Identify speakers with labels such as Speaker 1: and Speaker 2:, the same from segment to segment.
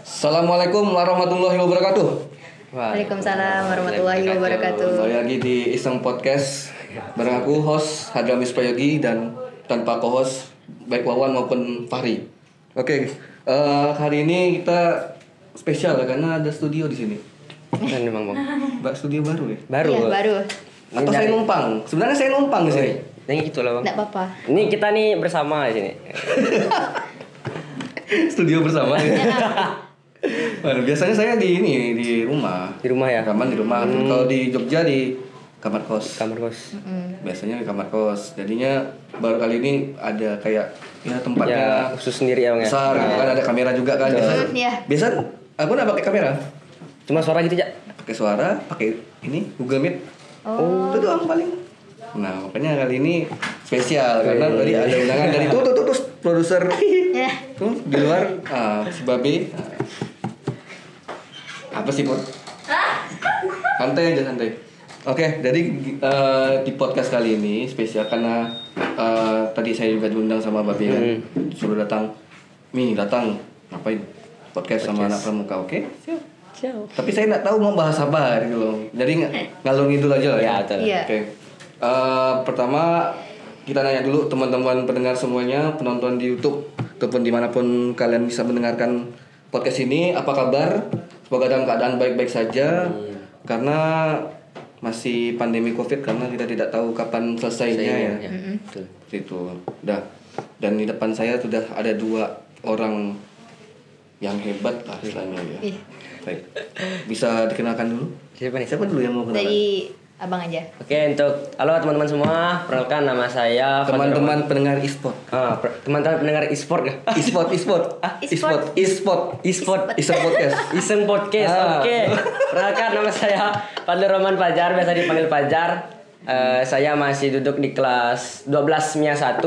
Speaker 1: Assalamualaikum warahmatullahi wabarakatuh.
Speaker 2: Waalaikumsalam warahmatullahi wabarakatuh.
Speaker 1: Kembali lagi di Iseng Podcast bareng aku host Hadramis Prayogi dan tanpa co-host baik Wawan maupun Fahri. Oke, eh, hari ini kita spesial ya, karena ada studio di sini.
Speaker 3: Kan memang bang.
Speaker 1: Mbak studio baru ya?
Speaker 3: Baru.
Speaker 2: Iya, baru.
Speaker 1: Atau saya numpang? Sebenarnya saya numpang di sini.
Speaker 3: Yang gitu lah bang.
Speaker 2: Enggak apa-apa.
Speaker 3: Ini kita nih bersama di sini.
Speaker 1: studio bersama ya. Waduh, biasanya saya di ini di rumah.
Speaker 3: Di rumah ya.
Speaker 1: Rekaman di rumah. Kalau di Jogja di kamar kos.
Speaker 3: Kamar kos.
Speaker 1: biasanya di kamar kos jadinya baru kali ini ada kayak ya
Speaker 3: Ya
Speaker 1: tempatnya
Speaker 3: khusus sendiri ya bang ya.
Speaker 1: besar gitu kan ada kamera juga kan biasa
Speaker 2: Hmm, iya.
Speaker 1: biasa aku nggak pakai kamera
Speaker 3: Cuma suara gitu aja.
Speaker 1: pakai suara pakai ini Google Meet itu doang paling nah makanya kali ini spesial karena tadi ada undangan dari tuh tuh tuh, tuh, produser
Speaker 2: Ya.
Speaker 1: tuh di luar ah, si babe Ah. apa sih put santai aja santai oke jadi eh, di podcast kali ini spesial karena eh, tadi saya juga diundang sama babe kan suruh datang mi datang ngapain podcast, sama anak pramuka oke
Speaker 3: Ciao.
Speaker 1: tapi saya nggak tahu mau bahas apa gitu loh jadi ng- ngalur ngidul aja lah ya
Speaker 3: Ya, betul.
Speaker 2: Iya.
Speaker 1: oke Eh, pertama kita nanya dulu teman-teman pendengar semuanya penonton di YouTube ataupun dimanapun kalian bisa mendengarkan podcast ini apa kabar semoga dalam keadaan baik-baik saja karena masih pandemi covid karena kita tidak tahu kapan selesainya
Speaker 2: Iya.
Speaker 1: ya
Speaker 3: Ya, betul.
Speaker 1: seperti itu dah dan di depan saya sudah ada dua orang yang hebat lah istilahnya ya
Speaker 2: Ih.
Speaker 1: baik bisa dikenalkan dulu
Speaker 3: Siapa nih?
Speaker 1: Eh, siapa dulu yang mau kenalan
Speaker 2: Dari abang aja.
Speaker 3: Oke untuk halo teman-teman semua perkenalkan nama saya Fadil
Speaker 1: teman-teman
Speaker 3: Rahman.
Speaker 1: pendengar e-sport
Speaker 3: Ah, per- teman-teman pendengar e-sport ya.
Speaker 1: e-sport e-sport Ah, e-sport e-sport
Speaker 3: E-sport
Speaker 1: e-sport podcast
Speaker 3: Iseng Podcast.
Speaker 1: Ah.
Speaker 3: Oke. Perkenalkan nama saya Fadil Roman Pajar, biasa dipanggil Pajar. Eh, saya masih duduk di kelas 12 MIA 1.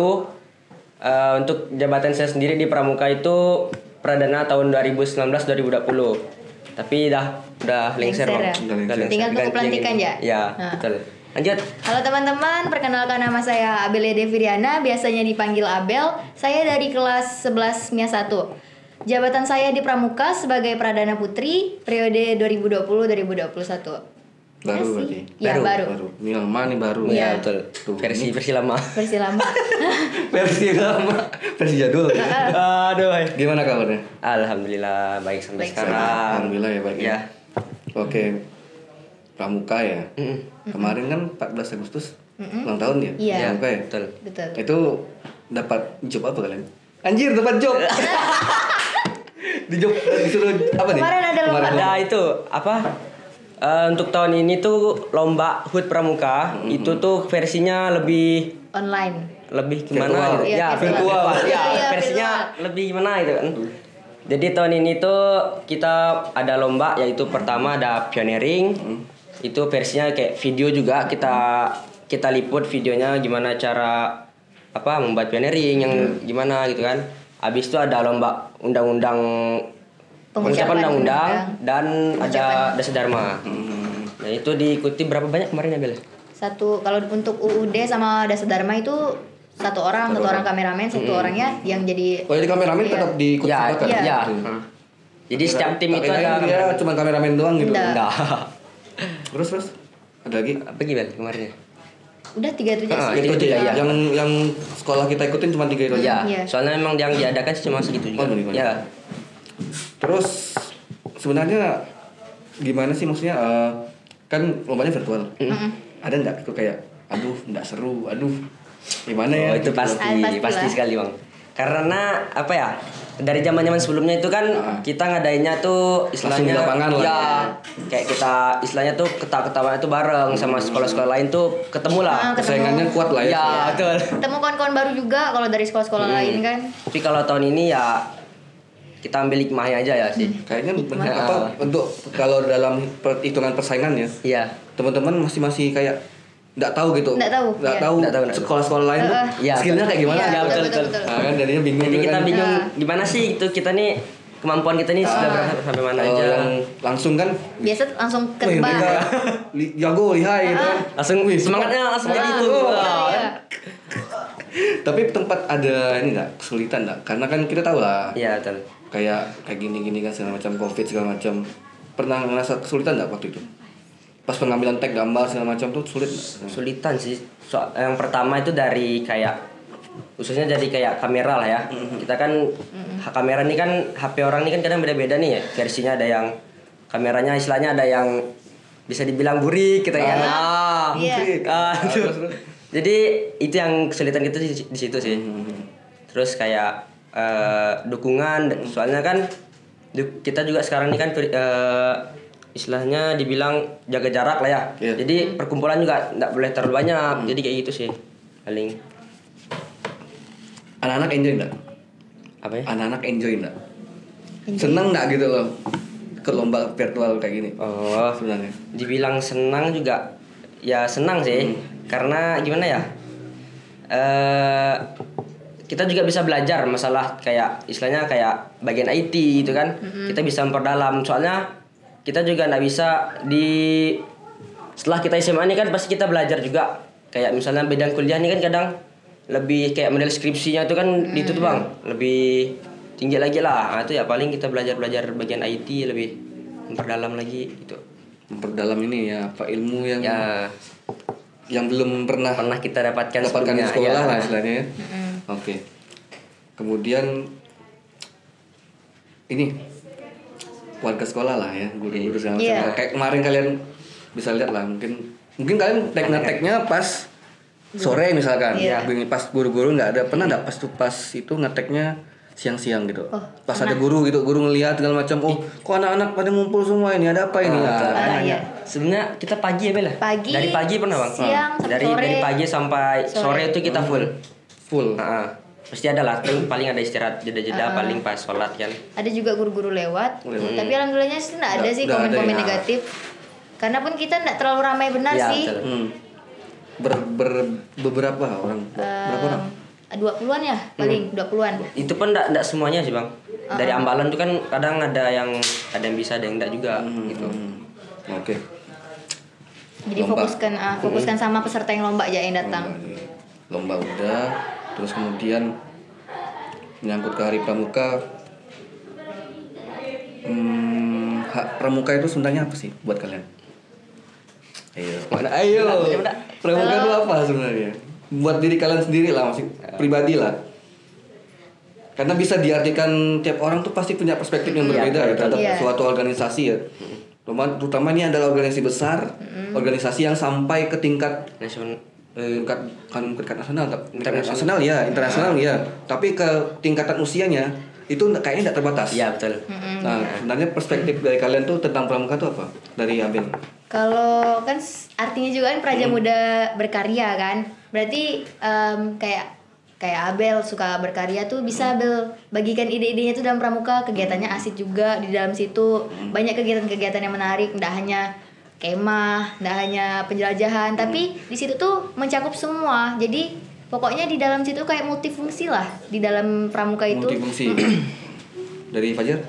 Speaker 3: Eh, untuk jabatan saya sendiri di Pramuka itu pradana tahun 2019-2020. Tapi dah udah lengser, Bang.
Speaker 2: Lengser ya?
Speaker 1: Udah lengser.
Speaker 2: Tinggal
Speaker 3: Ganti
Speaker 2: tunggu
Speaker 3: yang
Speaker 2: pelantikan
Speaker 3: ini.
Speaker 2: ya?
Speaker 3: Iya,
Speaker 2: Ah.
Speaker 3: betul. Lanjut.
Speaker 2: Halo teman-teman, perkenalkan nama saya Abelia Deviriana, biasanya dipanggil Abel. Saya dari kelas 11 MIA 1. Jabatan saya di Pramuka sebagai Pradana Putri periode 2020-2021.
Speaker 1: baru berarti
Speaker 2: Ya, baru.
Speaker 1: baru ini lama nih baru
Speaker 3: Iya, betul.
Speaker 1: Tuh,
Speaker 3: Versi versi lama.
Speaker 2: Versi lama.
Speaker 1: versi lama versi jadul
Speaker 3: Aduh.
Speaker 1: gimana kabarnya
Speaker 3: Alhamdulillah baik sampai
Speaker 2: Ah. Baik.
Speaker 3: sekarang.
Speaker 1: Alhamdulillah ya baik
Speaker 3: Iya.
Speaker 1: oke pramuka ya kemarin kan 14 Agustus ulang tahun ya
Speaker 2: Iya.
Speaker 1: pramuka ya
Speaker 3: Betul.
Speaker 2: Betul.
Speaker 1: itu dapat job apa kalian anjir dapat job di job disuruh apa nih
Speaker 2: Kemarin ada lomba.
Speaker 1: Kemarin.
Speaker 3: ada itu apa Eh, untuk tahun ini tuh lomba hut pramuka itu tuh versinya lebih
Speaker 2: Online.
Speaker 3: lebih
Speaker 1: Virtual.
Speaker 3: gimana gitu.
Speaker 2: Iya, virtual.
Speaker 3: ya
Speaker 2: Iya,
Speaker 3: versinya lebih gimana gitu kan jadi tahun ini tuh kita ada lomba yaitu pertama ada pioneering itu versinya kayak video juga kita kita liput videonya gimana cara apa membuat pioneering yang gimana gitu kan habis itu ada lomba undang-undang
Speaker 2: Pengucapan
Speaker 3: pengucapan undang-undang dan ada
Speaker 2: Pengucapan.
Speaker 3: dasa dharma nah itu diikuti berapa banyak kemarin ya Bel?
Speaker 2: satu kalau untuk UUD sama Dasa Dharma itu satu orang satu, orang kameramen satu orangnya yang jadi
Speaker 1: oh jadi kameramen
Speaker 2: Iya.
Speaker 1: tetap di ikut
Speaker 3: Ya,
Speaker 1: sertakan?
Speaker 2: iya.
Speaker 3: ya.
Speaker 1: Gitu.
Speaker 3: Jadi setiap tim
Speaker 1: Tak
Speaker 3: itu
Speaker 1: kirain dia
Speaker 3: ada
Speaker 1: cuma kameramen doang gitu
Speaker 2: Enggak.
Speaker 3: Enggak.
Speaker 1: terus terus ada lagi gitu
Speaker 3: Apa gimana kemarin ya?
Speaker 2: udah tiga itu
Speaker 3: Ah,
Speaker 2: aja sih.
Speaker 3: itu aja, iya.
Speaker 1: ya. yang yang sekolah kita ikutin cuma tiga itu aja
Speaker 3: Iya.
Speaker 2: Iya.
Speaker 3: Soalnya memang yang diadakan cuma segitu juga.
Speaker 1: Oh, begitu.
Speaker 3: Ya.
Speaker 1: terus sebenarnya gimana sih maksudnya eh, kan lombanya virtual ada nggak itu kayak aduh nggak seru aduh gimana ya
Speaker 3: Oh, itu pasti
Speaker 2: Ah, pasti
Speaker 3: pasti,
Speaker 2: lah.
Speaker 3: sekali, Bang. Karena apa ya? Dari zaman-zaman sebelumnya itu kan
Speaker 1: Ah.
Speaker 3: kita ngadainnya tuh
Speaker 1: Langsung di
Speaker 3: istilahnya
Speaker 1: lapangan lah.
Speaker 3: ya, kayak kita istilahnya tuh ketawa-ketawanya tuh bareng sama sekolah-sekolah lain tuh ketemu
Speaker 2: Ah,
Speaker 3: lah.
Speaker 2: ketemu.
Speaker 1: saingannya kuat lah ya
Speaker 3: ya, betul.
Speaker 2: ketemu kawan-kawan baru juga kalau dari sekolah-sekolah
Speaker 1: Hmm.
Speaker 2: lain kan
Speaker 3: Tapi kalau tahun ini ya kita ambil hikmahnya aja ya sih.
Speaker 1: kayaknya bener apa
Speaker 3: Ah.
Speaker 1: untuk kalau dalam perhitungan persaingan ya
Speaker 3: Iya.
Speaker 1: teman-teman masih masih kayak nggak tahu gitu
Speaker 2: Nggak tahu,
Speaker 1: nggak
Speaker 2: iya.
Speaker 1: tahu
Speaker 3: Nggak tahu, nggak tahu.
Speaker 1: sekolah-sekolah lain tuh
Speaker 3: Iya,
Speaker 1: skillnya kayak gimana
Speaker 2: Iya,
Speaker 3: Ya,
Speaker 2: betul,
Speaker 3: betul,
Speaker 2: betul,
Speaker 3: betul.
Speaker 1: Nah, kan jadinya bingung
Speaker 3: Jadi
Speaker 1: juga
Speaker 3: kita
Speaker 1: kan.
Speaker 3: bingung
Speaker 2: Ah.
Speaker 3: gimana sih itu kita nih kemampuan kita nih sudah berapa sampai mana
Speaker 1: Kalau
Speaker 3: aja.
Speaker 1: yang langsung kan
Speaker 2: biasa langsung
Speaker 1: wih,
Speaker 2: ketebak Iya.
Speaker 1: mereka li- jago lihai gitu kan.
Speaker 3: Langsung
Speaker 1: Wih,
Speaker 3: semangatnya
Speaker 1: sempat.
Speaker 3: langsung kayak
Speaker 2: Ah,
Speaker 3: gitu. Wah.
Speaker 2: iya.
Speaker 1: tapi tempat ada ini nggak kesulitan nggak karena kan kita tahu lah
Speaker 3: Iya betul.
Speaker 1: kayak kayak gini-gini kan segala macam covid segala macam pernah ngerasa kesulitan nggak waktu itu pas pengambilan tag gambar segala macam tuh sulit nggak?
Speaker 3: Sulitan sih. So, yang pertama itu dari kayak khususnya dari kayak kamera lah ya. Kita kan
Speaker 2: Mm-hmm.
Speaker 3: ha- kamera ini kan HP orang ini kan kadang beda-beda nih ya. Versinya ada yang kameranya istilahnya ada yang bisa dibilang burik kita ya. Ah,
Speaker 2: Iya.
Speaker 3: burik. Ah, itu. Jadi itu yang kesulitan kita di, di situ sih. Terus kayak eh, dukungan soalnya kan du- kita juga sekarang ini kan eh, istilahnya dibilang jaga jarak lah ya.
Speaker 1: Iya.
Speaker 3: Jadi perkumpulan juga nggak boleh terlalu banyak. Jadi kayak gitu sih paling
Speaker 1: anak-anak enjoy nggak
Speaker 3: apa ya?
Speaker 1: anak-anak enjoy nggak seneng nggak gitu loh ke lomba virtual kayak gini
Speaker 3: Oh,
Speaker 1: sebenarnya
Speaker 3: dibilang senang juga ya senang sih karena gimana ya eh kita juga bisa belajar masalah kayak istilahnya kayak bagian IT gitu kan kita bisa memperdalam soalnya kita juga nggak bisa di setelah kita SMA ini kan pasti kita belajar juga kayak misalnya bidang kuliah ini kan kadang lebih kayak model skripsinya itu kan itu tuh bang lebih tinggi lagi lah nah, itu ya paling kita belajar belajar bagian IT lebih memperdalam lagi gitu
Speaker 1: memperdalam ini ya apa ilmu yang
Speaker 3: ya
Speaker 1: yang belum pernah
Speaker 3: pernah kita dapatkan
Speaker 1: dapatkan di
Speaker 3: sebelumnya,
Speaker 1: sekolah
Speaker 3: ya.
Speaker 1: lah istilahnya ya. Oke. Kemudian ini warga sekolah lah ya, guru-guru segala macam.
Speaker 2: Iya.
Speaker 1: Kayak kemarin kalian bisa lihat lah mungkin mungkin kalian tek ngeteknya pas sore misalkan.
Speaker 2: Iya.
Speaker 1: Bing- Pas buru-buru nggak ada pernah nggak pas tuh pas itu ngeteknya siang-siang gitu.
Speaker 2: Oh,
Speaker 1: pas ada guru gitu, guru ngelihat segala macam. Oh, kok anak-anak pada ngumpul semua ini? Ada apa ini?
Speaker 3: Ah,
Speaker 1: Ah,
Speaker 2: Ah, iya.
Speaker 3: Sebenarnya kita pagi ya Bella.
Speaker 2: Pagi,
Speaker 3: Dari pagi pernah bang.
Speaker 2: siang, sampai
Speaker 3: dari
Speaker 2: sore.
Speaker 3: dari pagi sampai
Speaker 2: Sore.
Speaker 3: sore itu kita full.
Speaker 1: full.
Speaker 3: Heeh. Pasti ada lah. tuh paling ada istirahat jeda-jeda paling pas sholat kan.
Speaker 2: ada juga guru-guru lewat tapi alhamdulillahnya sih nggak
Speaker 1: Hmm.
Speaker 2: ada
Speaker 1: Nggak-
Speaker 2: sih
Speaker 1: nggak ada ya.
Speaker 2: komen-komen
Speaker 1: yang-
Speaker 2: negatif karena pun kita nggak terlalu ramai benar
Speaker 3: Iya,
Speaker 2: sih
Speaker 3: betul.
Speaker 1: Hmm. Ber- ber- beberapa orang?
Speaker 2: Eh,
Speaker 1: Berapa orang?
Speaker 2: dua puluhan ya
Speaker 1: Hmm.
Speaker 2: paling dua puluhan
Speaker 3: Itu pun enggak semuanya sih bang. Dari ambalan tuh kan kadang ada yang ada yang bisa ada yang enggak juga gitu.
Speaker 1: Hmm. Oke.
Speaker 2: jadi
Speaker 1: Lomba. Hmm.
Speaker 2: fokuskan ah, fokuskan sama peserta yang lomba aja yang datang
Speaker 1: Iya, Lomba udah, terus kemudian menyangkut ke hari pramuka. Hmm, hak pramuka itu sebenarnya apa sih buat kalian? Ayo. Mana ayo. Pramuka itu apa sebenarnya? Buat diri kalian sendiri lah, masih pribadi lah. Karena bisa diartikan tiap orang tuh pasti punya perspektif yang
Speaker 3: Iya,
Speaker 1: berbeda ya terhadap
Speaker 2: Iya.
Speaker 1: suatu organisasi ya. Terutama, terutama ini adalah organisasi besar, organisasi yang sampai ke tingkat
Speaker 3: Nasional.
Speaker 1: eh, tingkat kan tingkat nasional tapi internasional ya internasional ya tapi ke tingkatan usianya itu nggak- kayaknya tidak terbatas
Speaker 3: Iya betul.
Speaker 1: nah sebenarnya perspektif dari kalian tuh tentang pramuka tuh apa dari Abel
Speaker 2: Kalau kan s- artinya juga kan praja
Speaker 3: Hmm.
Speaker 2: muda berkarya kan. Berarti em, kayak kayak Abel suka berkarya tuh
Speaker 3: Hmm.
Speaker 2: bisa Abel bagikan ide-idenya tuh dalam pramuka, kegiatannya asik juga di dalam situ.
Speaker 3: Hmm.
Speaker 2: Banyak kegiatan-kegiatan yang menarik, nggak hanya kemah, nggak hanya penjelajahan,
Speaker 3: Hmm.
Speaker 2: tapi di situ tuh mencakup semua. Jadi pokoknya di dalam situ kayak multifungsi lah di dalam pramuka itu.
Speaker 1: multifungsi dari Fajar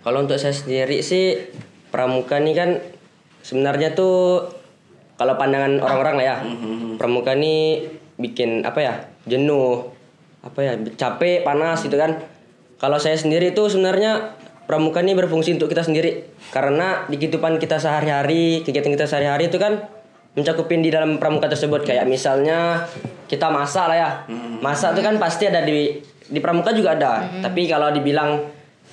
Speaker 3: Kalau untuk saya sendiri sih pramuka ini kan sebenarnya tuh kalau pandangan orang-orang lah ya. Pramuka ini bikin apa ya? jenuh, apa ya? capek, panas gitu kan. Kalau saya sendiri tuh sebenarnya pramuka ini berfungsi untuk kita sendiri karena di kehidupan kita sehari-hari, kegiatan kita sehari-hari itu kan mencakupin di dalam pramuka tersebut kayak misalnya kita masak lah ya. Masak itu kan pasti ada di di pramuka juga ada. Tapi kalau dibilang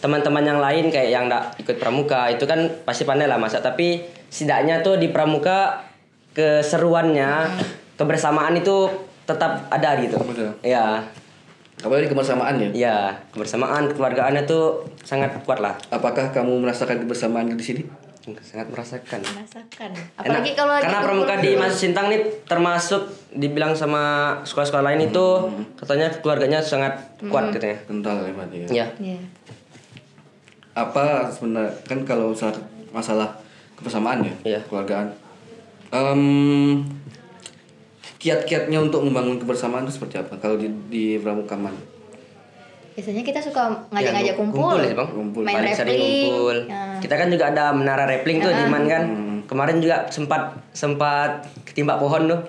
Speaker 3: teman-teman yang lain kayak yang nggak ikut pramuka itu kan pasti pandai lah masak tapi setidaknya tuh di pramuka keseruannya
Speaker 2: Hmm.
Speaker 3: kebersamaan itu tetap ada gitu
Speaker 1: Betul.
Speaker 3: ya
Speaker 1: apalagi kebersamaan ya
Speaker 3: ya kebersamaan kekeluargaannya tuh sangat kuat lah
Speaker 1: apakah kamu merasakan kebersamaan di sini
Speaker 3: sangat merasakan
Speaker 2: Merasakan.
Speaker 3: Enak.
Speaker 2: Apalagi kalau lagi
Speaker 3: karena
Speaker 2: kumpul.
Speaker 3: pramuka di Mas Sintang nih termasuk dibilang sama sekolah-sekolah lain itu
Speaker 2: Hmm.
Speaker 3: katanya keluarganya sangat kuat katanya
Speaker 1: kental ya Fajar
Speaker 3: ya
Speaker 2: Iya.
Speaker 1: apa sebenarnya kan kalau masalah, masalah kebersamaan ya
Speaker 3: Iya.
Speaker 1: keluargaan Em, kiat-kiatnya untuk membangun kebersamaan itu seperti apa kalau di di pramukaman
Speaker 2: Biasanya kita suka ngajak-ngajak
Speaker 3: Ya,
Speaker 2: kumpul,
Speaker 3: ya, Bang.
Speaker 1: Kumpul.
Speaker 2: main
Speaker 3: Paling sering
Speaker 2: rappling.
Speaker 3: kumpul.
Speaker 2: Ya.
Speaker 3: Kita kan juga ada
Speaker 1: Hmm.
Speaker 3: menara rappling tuh di Man kan. Kemarin juga sempat sempat ketimpa pohon tuh.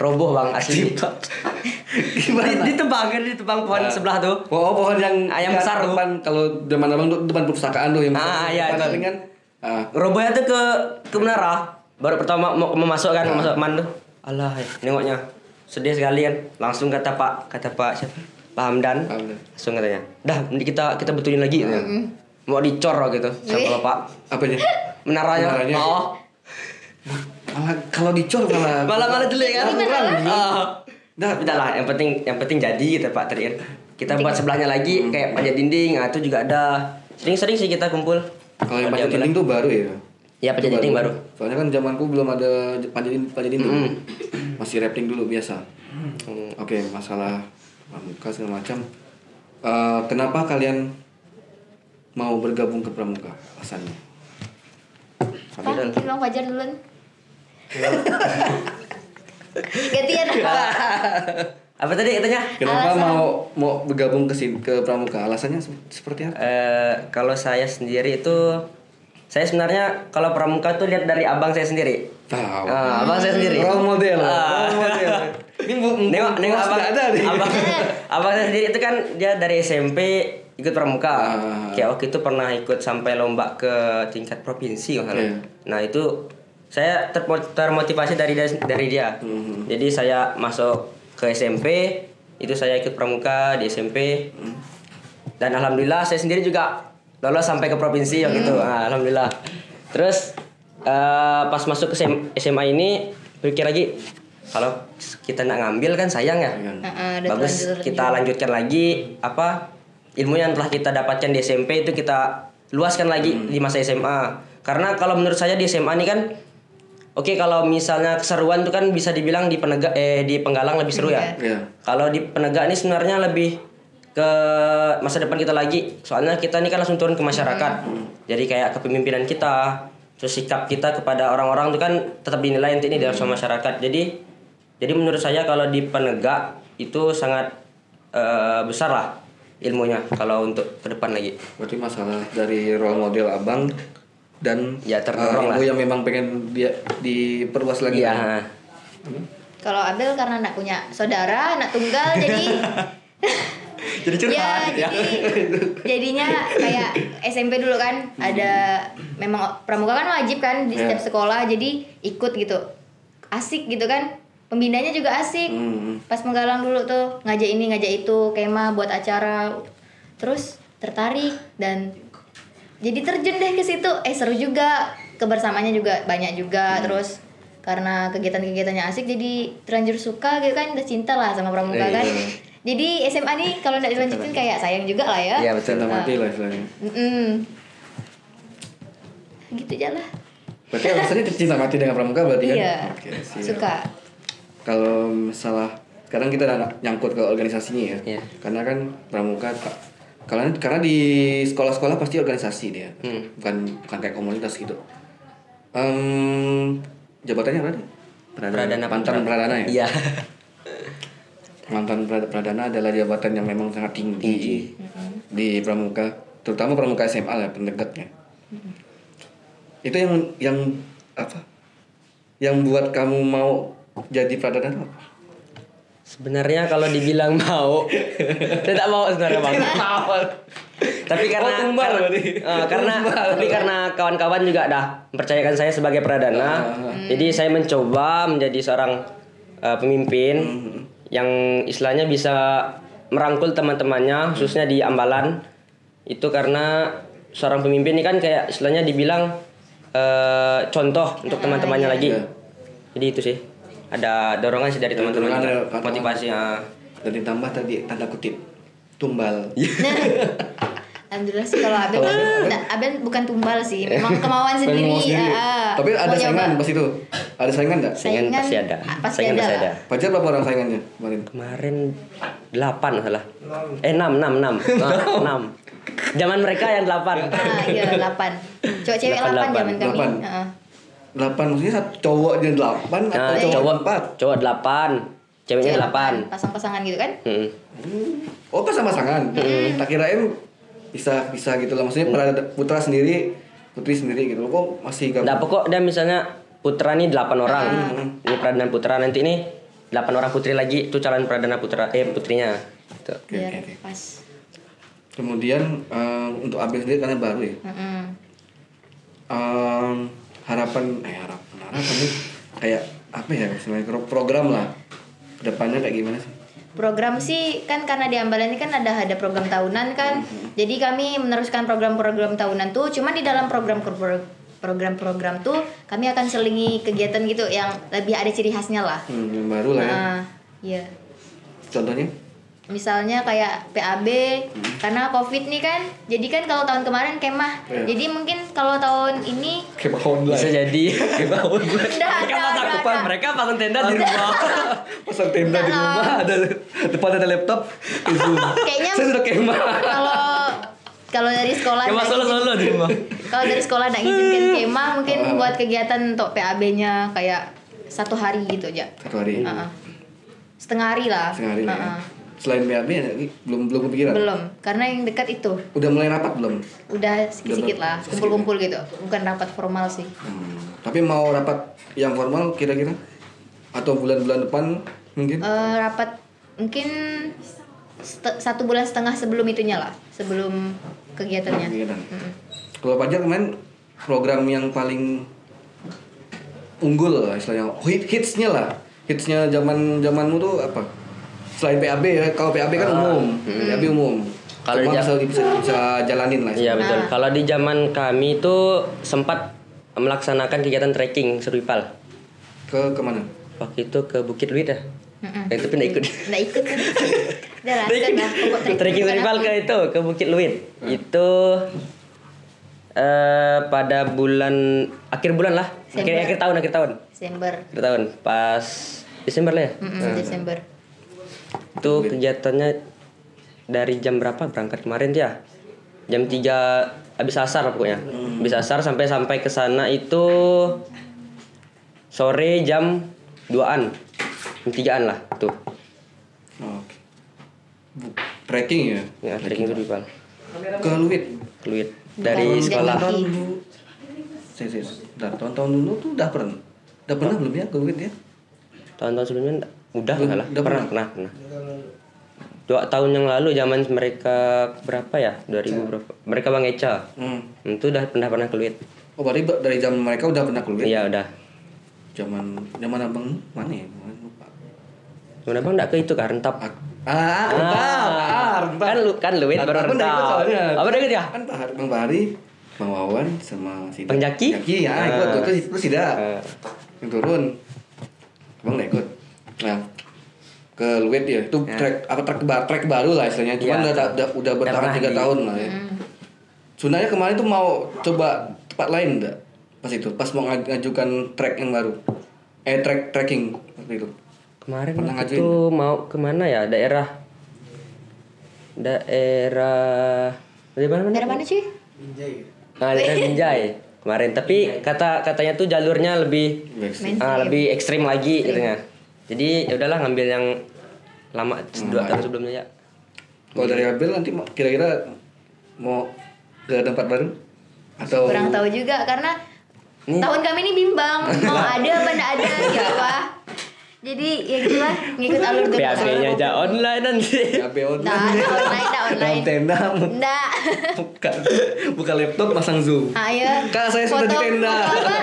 Speaker 3: roboh bang asli di, ditebangin ditebang pohon sebelah tuh
Speaker 1: Oh, oh, pohon yang
Speaker 3: Ayam
Speaker 1: yang
Speaker 3: besar, Bu.
Speaker 1: depan kalau zaman abang tuh depan perpustakaan tuh yang
Speaker 3: Ah, iya,
Speaker 1: depan
Speaker 3: itu.
Speaker 1: paling kan. Ah,
Speaker 3: robohnya tuh ke ke menara baru pertama mau, mau masuk
Speaker 1: Ya.
Speaker 3: kan mau masuk man tuh alah ya, nengoknya sedih sekali kan langsung kata pak kata pak siapa Pak Hamdan
Speaker 1: Pak Hamdan.
Speaker 3: langsung katanya dah nanti kita kita betulin lagi katanya. mau dicor lah gitu
Speaker 2: Hmm. Wih.
Speaker 3: sama bapak
Speaker 1: apanya?
Speaker 3: menaranya,
Speaker 1: Menaranya.
Speaker 3: oh
Speaker 1: Malah kalau dicor malah
Speaker 3: malah malah jelek kan
Speaker 2: Gimana lah?
Speaker 3: oh.
Speaker 1: Dah.
Speaker 3: udah lah yang penting yang penting jadi gitu pak Trin kita buat sebelahnya lagi kayak pajak dinding nah, itu juga ada sering-sering sih kita kumpul
Speaker 1: Kalau yang
Speaker 3: Ada
Speaker 1: panjat
Speaker 3: bulan-
Speaker 1: dinding tuh baru ya.
Speaker 3: ya pajak dinding baru
Speaker 1: Soalnya kan zamanku belum ada j- panjat dinding, panjat dinding.
Speaker 3: Mm.
Speaker 1: Masih rapping dulu biasa.
Speaker 3: Hmm.
Speaker 1: Oke, masalah pramuka segala macam. Eh, kenapa kalian mau bergabung ke pramuka? Alasannya?
Speaker 2: Pak, mungkin Bang Fajar duluan. Gantian apa?
Speaker 3: apa tadi katanya
Speaker 1: Kenapa
Speaker 2: Alasan.
Speaker 1: mau mau bergabung ke sini ke pramuka? Alasannya se- seperti apa?
Speaker 3: Eh, kalau saya sendiri itu saya sebenarnya kalau pramuka tuh lihat dari abang saya sendiri.
Speaker 1: Tahu.
Speaker 3: Ah, abang saya sendiri.
Speaker 1: Role model.
Speaker 3: Ah.
Speaker 1: Role model. Ini bu,
Speaker 3: Nengok, nengok
Speaker 1: abang
Speaker 3: abang,
Speaker 1: ada nih.
Speaker 3: abang, abang saya sendiri itu kan dia dari SMP ikut pramuka.
Speaker 1: Ah.
Speaker 3: Kayak waktu itu pernah ikut sampai lomba ke tingkat provinsi kalau nggak salah.
Speaker 1: Iya.
Speaker 3: Nah itu saya terpo- termotivasi dari dia, dari dia.
Speaker 1: Mhm.
Speaker 3: Jadi saya masuk ke SMP itu saya ikut pramuka di SMP
Speaker 1: Hmm.
Speaker 3: dan alhamdulillah saya sendiri juga lolos sampai ke provinsi yang gitu. Nah, alhamdulillah. Terus eh, pas masuk ke SM- SMA ini berpikir lagi kalau kita nak ngambil kan sayang ya.
Speaker 1: Sayang.
Speaker 2: Heeh, udah
Speaker 3: Bagus
Speaker 2: terlanjur.
Speaker 3: kita lanjutkan lagi apa ilmu yang telah kita dapatkan di SMP itu kita luaskan lagi di masa SMA. Karena kalau menurut saya di SMA ini kan Oke kalau misalnya keseruan itu kan bisa dibilang di penegak eh di penggalang lebih seru ya.
Speaker 1: Iya.
Speaker 3: Kalau di penegak ini sebenarnya lebih ke masa depan kita lagi. Soalnya kita ini kan langsung turun ke masyarakat. Jadi kayak kepemimpinan kita, terus sikap kita kepada orang-orang itu kan tetap dinilai nanti ini dari sama masyarakat. Jadi jadi menurut saya kalau di penegak itu sangat eh, besar lah ilmunya kalau untuk ke depan lagi.
Speaker 1: Berarti masalah dari role model abang dan
Speaker 3: Ya,
Speaker 1: eh,
Speaker 3: terdorong
Speaker 1: ibu
Speaker 3: lah.
Speaker 1: yang memang pengen dia diperluas lagi. ya?
Speaker 3: Iya.
Speaker 2: Kalau Abel karena anak punya saudara, anak tunggal jadi
Speaker 3: Jadi curhat ya.
Speaker 2: ya, jadi jadinya kayak SMP dulu kan ada memang pramuka kan wajib kan di setiap
Speaker 1: Ya.
Speaker 2: sekolah jadi ikut gitu asik gitu kan pembinanya juga asik
Speaker 1: Hmm.
Speaker 2: pas menggalang dulu tuh ngajak ini ngajak itu kema buat acara terus tertarik dan jadi terjun deh ke situ eh seru juga kebersamanya juga banyak
Speaker 1: Hmm.
Speaker 2: juga terus karena kegiatan-kegiatannya asik jadi terlanjur suka gitu kan udah cinta lah sama pramuka
Speaker 1: Iya.
Speaker 2: kan jadi SMA nih kalau nggak dilanjutin kayak sayang juga lah ya
Speaker 3: Iya
Speaker 1: Cinta
Speaker 3: betul.
Speaker 1: mati lah istilahnya.
Speaker 2: Mm-mm. gitu aja lah
Speaker 1: Berarti alasannya cinta mati dengan pramuka berarti kan?
Speaker 2: iya
Speaker 1: Oke, siap.
Speaker 2: suka
Speaker 1: Kalau masalah sekarang kita udah nyangkut ke organisasinya ya.
Speaker 3: Iya.
Speaker 1: Karena kan pramuka tak karena, karena di sekolah-sekolah pasti organisasi dia.
Speaker 3: Hmm.
Speaker 1: Bukan bukan kayak komunitas gitu. Em, jabatannya apa tadi?
Speaker 3: Pradana
Speaker 1: mantan pradana ya?
Speaker 3: Iya.
Speaker 1: mantan pra- pradana adalah jabatan yang memang sangat tinggi, di pramuka terutama pramuka SMA lah pendekatnya itu yang yang apa yang buat kamu mau jadi pradana tuh apa?
Speaker 3: Sebenarnya kalau dibilang mau, saya tak mau sebenarnya
Speaker 1: Iya.
Speaker 3: bang. tapi karena
Speaker 1: Oh, tumbal
Speaker 3: karena,
Speaker 1: berarti.
Speaker 3: eh, karena tapi karena kawan-kawan juga dah mempercayakan saya sebagai
Speaker 1: Ah,
Speaker 3: pradana,
Speaker 2: Hmm.
Speaker 3: jadi saya mencoba menjadi seorang eh, pemimpin
Speaker 1: Hmm,
Speaker 3: yang istilahnya bisa merangkul teman-temannya, khususnya di Ambalan. Itu karena seorang pemimpin ini kan kayak istilahnya dibilang eh, contoh
Speaker 2: Ah,
Speaker 3: untuk teman-temannya
Speaker 2: iya,
Speaker 3: lagi. Jadi itu sih ada dorongan sih dari teman-teman
Speaker 1: Iya, dorongan
Speaker 3: juga.
Speaker 1: ada kata-
Speaker 3: motivasi ah.
Speaker 1: dan ditambah tadi tanda kutip tumbal
Speaker 2: Nah, Alhamdulillah sih kalau Abel, nah, Abel bukan tumbal sih, memang kemauan
Speaker 1: Pengen
Speaker 2: sendiri.
Speaker 1: mau sendiri.
Speaker 2: ah, ah.
Speaker 1: tapi ada
Speaker 2: Mau
Speaker 1: saingan
Speaker 2: nyoba.
Speaker 1: pas itu ada saingan nggak
Speaker 3: Saingan pasti ada.
Speaker 2: ah, pasti
Speaker 3: Saingan
Speaker 2: ada
Speaker 3: pasti
Speaker 2: lah.
Speaker 3: ada.
Speaker 1: pacar berapa orang saingannya kemarin
Speaker 3: Kemarin 8 salah. Eh 6 6 6. Ah, 6. Zaman mereka yang 8.
Speaker 2: Ah, iya, 8. Cowok cewek 8,
Speaker 3: Delapan,
Speaker 2: zaman kami. Ah,
Speaker 1: delapan.
Speaker 2: Heeh.
Speaker 1: delapan maksudnya satu cowoknya delapan atau
Speaker 2: Ah,
Speaker 3: Nah,
Speaker 2: iya.
Speaker 1: cowok
Speaker 3: cowok
Speaker 1: empat
Speaker 3: Cowok 8, ceweknya Hmm.
Speaker 2: Cewek
Speaker 3: 8.
Speaker 2: Pasang-pasangan gitu kan?
Speaker 3: Heeh.
Speaker 1: Oh pas sama sangan. Tak kirain bisa
Speaker 2: Mm.
Speaker 1: bisa gitu lah. Maksudnya pernah ada putra sendiri, putri sendiri gitu. Kok masih gabung?
Speaker 3: Enggak Nah, pokok dan misalnya putra nih 8 orang. Ini pradana putra nanti ini 8 orang putri lagi itu calon pradana putra eh putrinya. Gitu.
Speaker 2: biar pas.
Speaker 1: Kemudian eh, untuk ABL sendiri karena baru ya.
Speaker 2: Mm-mm.
Speaker 1: Em, harapan eh harapan harapan nih kayak apa ya sebenarnya pro- program lah kedepannya kayak gimana sih?
Speaker 2: Program sih kan karena di Ambalan ini kan ada ada program tahunan kan.
Speaker 1: Mm-hmm.
Speaker 2: Jadi kami meneruskan program-program tahunan tuh cuman di dalam program pro- program-program tuh kami akan selingi kegiatan gitu yang lebih ada ciri khasnya lah.
Speaker 1: Hmm, yang baru lah ya.
Speaker 2: Nah, iya.
Speaker 1: Contohnya?
Speaker 2: Misalnya kayak PAB
Speaker 1: Mm-hmm.
Speaker 2: karena Covid nih kan. Jadi kan kalau tahun kemarin kemah.
Speaker 1: Iya.
Speaker 2: Jadi mungkin kalau tahun ini
Speaker 1: Kayak ya.
Speaker 3: Bisa
Speaker 1: online.
Speaker 3: jadi
Speaker 2: Nggak,
Speaker 3: mereka
Speaker 2: nggak,
Speaker 3: pas
Speaker 2: nggak,
Speaker 3: akupan,
Speaker 2: nggak.
Speaker 3: mereka pasang tenda di rumah.
Speaker 1: Pasang tenda di
Speaker 2: Nggak,
Speaker 1: rumah ada depan ada laptop. di Zoom.
Speaker 2: Kayaknya-
Speaker 1: saya sudah kemah.
Speaker 2: kalau kalau dari sekolah
Speaker 3: Kayak
Speaker 2: nggak
Speaker 3: solo solo di rumah.
Speaker 2: Kalau dari sekolah nak izinkan kemah mungkin buat kegiatan untuk PAB-nya kayak satu hari gitu aja.
Speaker 1: Satu hari.
Speaker 2: Heeh. Setengah hari lah.
Speaker 1: Setengah hari ya. lah ya.
Speaker 2: Heeh.
Speaker 1: Selain BAB ada lagi? belum belum kepikiran.
Speaker 2: Belum, karena yang dekat itu
Speaker 1: Udah mulai rapat belum?
Speaker 2: udah sedikit-sedikit
Speaker 1: Udah,
Speaker 2: lah,
Speaker 1: sedikit.
Speaker 2: kumpul-kumpul gitu. Bukan rapat formal sih.
Speaker 1: Hmm, Tapi mau rapat yang formal kira-kira atau bulan-bulan depan mungkin?
Speaker 2: Eh, rapat mungkin sete- satu bulan setengah sebelum itunya lah, sebelum kegiatannya.
Speaker 1: Kemungkinan. Iya, Kalau Fajar kemarin program yang paling unggul lah istilahnya hit hitsnya lah hitsnya zaman zamanmu tuh apa selain PAB ya kalau PAB kan umum PAB umum
Speaker 3: Ah. Hmm. Kalau
Speaker 1: Cuma
Speaker 3: ja-
Speaker 1: bisa, bisa bisa jalanin lah
Speaker 3: Iya betul.
Speaker 2: Nah.
Speaker 3: Kalau di zaman kami itu sempat melaksanakan kegiatan trekking serwipal.
Speaker 1: ke kemana
Speaker 3: Waktu itu ke Bukit Luit ya.
Speaker 2: Mm-mm.
Speaker 3: Nah, tapi nggak ikut.
Speaker 2: Nggak ikut. Udah lah, ikut lah. Pokok trekking.
Speaker 3: trekking
Speaker 2: Bukan
Speaker 3: serwipal
Speaker 2: apa.
Speaker 3: ke itu ke Bukit Luit. Itu eh pada bulan akhir bulan lah. Akhir
Speaker 2: Desember.
Speaker 3: akhir tahun akhir tahun.
Speaker 2: Desember.
Speaker 3: Akhir tahun pas Desember lah ya.
Speaker 2: Mm-mm,
Speaker 1: Ah.
Speaker 2: Desember.
Speaker 3: Itu kegiatannya dari jam berapa berangkat kemarin tuh ya? Jam 3 habis asar pokoknya.
Speaker 1: Hmm.
Speaker 3: Habis asar sampai sampai ke sana itu sore jam 2-an. Jam 3-an lah tuh.
Speaker 1: oh, oke. Bu- trekking ya
Speaker 3: Ya, trekking itu Bal.
Speaker 1: ke Luit
Speaker 3: Keluit dari
Speaker 2: Bukan,
Speaker 3: sekolah.
Speaker 2: Lagi.
Speaker 1: tahun dulu saya saya sebentar. tahun-tahun dulu tuh udah pernah udah pernah belum ya ke Luit ya
Speaker 3: Tahun-tahun sebelumnya nda- udah
Speaker 1: Udah-
Speaker 3: enggak lah.
Speaker 1: udah
Speaker 3: Pernah,
Speaker 1: pernah?
Speaker 3: pernah, pernah. Dua tahun yang lalu zaman mereka berapa ya?
Speaker 1: Iya.
Speaker 3: 2000 berapa? Mereka Bang Eca.
Speaker 1: hmm.
Speaker 3: Itu udah pernah pernah keluit.
Speaker 1: oh berarti dari zaman mereka udah pernah ke Luit
Speaker 3: Iya, udah.
Speaker 1: zaman zaman abang mana ya lupa
Speaker 3: Mana Bang enggak ke itu kan rentap.
Speaker 1: ah rental ah rental
Speaker 3: Kan lu kan luwit baru
Speaker 1: Abang udah ikut
Speaker 3: rental.
Speaker 1: soalnya.
Speaker 3: Abang udah ikut ya?
Speaker 1: kan Pak- bang Bahari bang Wawan sama si
Speaker 3: Bang Jaki?
Speaker 1: Jaki ya
Speaker 3: Ah.
Speaker 1: ikut tuh terus terus tidak
Speaker 3: Ah.
Speaker 1: yang turun bang nggak ikut nah ke Luwet ya itu trek apa trek ba- trek baru lah istilahnya cuman
Speaker 3: Iya.
Speaker 1: udah udah, udah bertahan
Speaker 3: pernah
Speaker 1: tiga
Speaker 3: di-
Speaker 1: tahun lah ya sebenarnya kemarin tuh mau coba tempat lain enggak pas itu pas mau ngaj- ngajukan trek yang baru eh trek trekking waktu itu
Speaker 3: Kemarin
Speaker 1: Pernah ngajuin?
Speaker 3: waktu itu mau kemana ya? Daerah daerah dari mana mana?
Speaker 2: Daerah mana cuy?
Speaker 3: Nah, daerah Binjai kemarin. Tapi kata katanya tuh jalurnya lebih
Speaker 1: Backstreet.
Speaker 3: ah, lebih ekstrim lagi katanya. Jadi ya udahlah ngambil yang lama dua tahun sebelumnya ya.
Speaker 1: Kalau dari Abel nanti mau- kira-kira mau ke tempat baru atau
Speaker 2: kurang tahu juga karena tahun kami ini bimbang mau ada apa nggak ada gitu pak jadi ya gitulah ngikut alur tuh
Speaker 3: PAB-nya aja online nanti.
Speaker 1: PAB online?
Speaker 2: nggak nggak online nggak online
Speaker 1: Dalam tenda
Speaker 2: nggak
Speaker 1: buka buka laptop masang zoom.
Speaker 2: ayo
Speaker 1: Kak, saya sudah di tenda.
Speaker 2: foto, apa?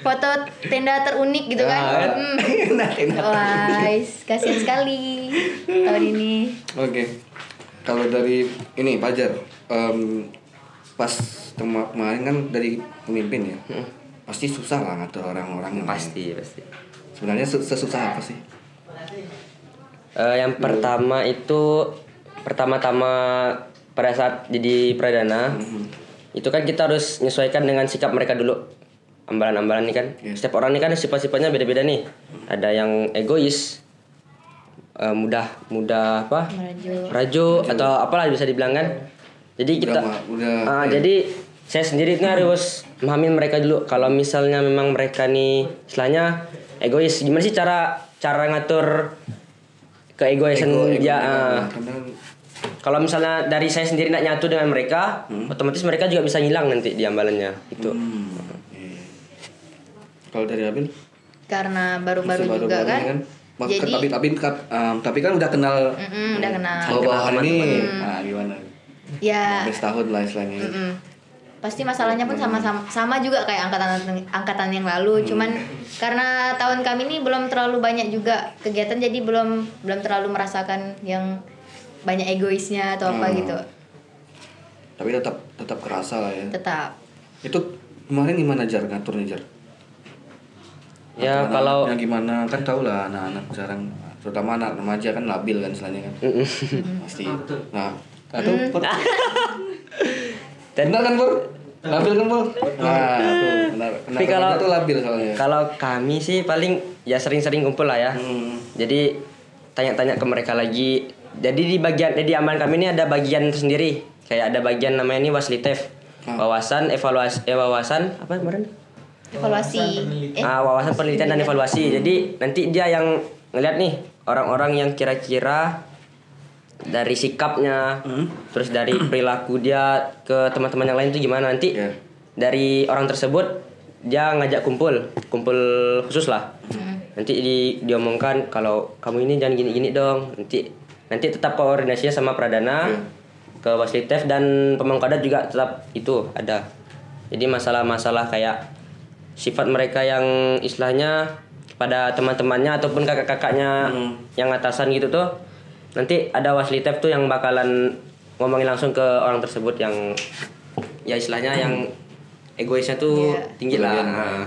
Speaker 2: foto tenda terunik gitu kan
Speaker 1: Ah,
Speaker 2: Hmm.
Speaker 1: enak enak.
Speaker 2: Wais, kasihan sekali tahun ini
Speaker 1: Oke. Kalau dari ini Pajar em, pas tema- kemarin kan dari pemimpin ya. Pasti susah lah ngatur orang-orang yang lain.
Speaker 3: Hmm. Pasti pasti.
Speaker 1: Sebenarnya se- sesusah apa sih?
Speaker 3: Eh, yang pertama itu pertama-tama pada saat jadi pradana itu kan kita harus menyesuaikan dengan sikap mereka dulu ambalan-ambalan ini kan
Speaker 1: Iya.
Speaker 3: setiap orang ini kan sifat-sifatnya beda-beda nih ada yang egois eh, mudah mudah apa
Speaker 2: Merajuk.
Speaker 3: Rajo atau apalah bisa dibilang kan jadi
Speaker 1: Udah
Speaker 3: kita
Speaker 1: ma- udah
Speaker 3: Ah, jadi saya sendiri itu harus memahami mereka dulu kalau misalnya memang mereka nih istilahnya egois gimana sih cara cara ngatur keegoisan
Speaker 1: Ego- ego
Speaker 3: dia
Speaker 1: mereka. kan?
Speaker 3: ah.
Speaker 1: Kadang-
Speaker 3: kalau misalnya dari saya sendiri nak nyatu dengan
Speaker 1: Hmm.
Speaker 3: mereka otomatis mereka juga bisa hilang nanti di ambalannya itu
Speaker 1: Hmm, iya. Hmm, Kalau dari Abin?
Speaker 2: karena baru-baru
Speaker 1: Baru-baru
Speaker 2: juga kan.
Speaker 1: ini Mak-
Speaker 2: Jadi
Speaker 1: tapi tapi kap- em, tapi kan udah kenal
Speaker 2: mm-mm, udah kenal.
Speaker 1: bawah-bawahan ini.
Speaker 3: Hmm.
Speaker 1: Nah, gimana?
Speaker 3: Ah.
Speaker 2: Ya,
Speaker 1: Hampir setahun lah istilahnya.
Speaker 2: mm-mm. pasti masalahnya pun sama sama sama juga kayak angkatan angkatan yang lalu. Cuman karena tahun kami ini belum terlalu banyak juga kegiatan, jadi belum belum terlalu merasakan yang banyak egoisnya atau apa
Speaker 1: Hmm.
Speaker 2: gitu.
Speaker 1: Tapi tetap tetap kerasa lah ya.
Speaker 2: Tetap.
Speaker 1: Itu kemarin gimana jar ngatur nih jar?
Speaker 3: Ya
Speaker 1: Anak-anak
Speaker 3: kalau
Speaker 1: yang gimana kan tau lah anak-anak sekarang terutama anak remaja kan labil kan istilahnya kan
Speaker 3: Hmm.
Speaker 1: pasti nah atau Pur? benar kan pur labil kan pur nah tuh, benar
Speaker 3: Tapi kalau-
Speaker 1: itu labil soalnya
Speaker 3: kalau kami sih paling ya sering-sering kumpul lah ya.
Speaker 1: Hmm.
Speaker 3: Jadi tanya-tanya ke mereka lagi. Jadi di bagian di aman kami ini ada bagian sendiri. Kayak ada bagian namanya ini waslitev. Wawasan evaluasi eh wawasan apa kemarin?
Speaker 2: Evaluasi. Eh,
Speaker 3: Ah, wawasan penelitian dan evaluasi. Jadi nanti dia yang ngeliat nih orang-orang yang kira-kira dari sikapnya, terus dari perilaku dia ke teman-teman yang lain itu gimana nanti
Speaker 1: Iya.
Speaker 3: dari orang tersebut dia ngajak kumpul, kumpul khusus lah. Nanti di, diomongkan kalau kamu ini jangan gini-gini dong. Nanti nanti tetap koordinasinya sama Pradana ke Waslitev dan Pemangkadat juga tetap itu ada. Jadi masalah-masalah kayak sifat mereka yang istilahnya kepada teman-temannya ataupun kakak-kakaknya yang atasan gitu tuh nanti ada waslitep tuh yang bakalan ngomongin langsung ke orang tersebut yang ya istilahnya yang egoisnya tuh
Speaker 2: Iya.
Speaker 3: tinggi lah
Speaker 1: Berlebihan.
Speaker 3: Nah,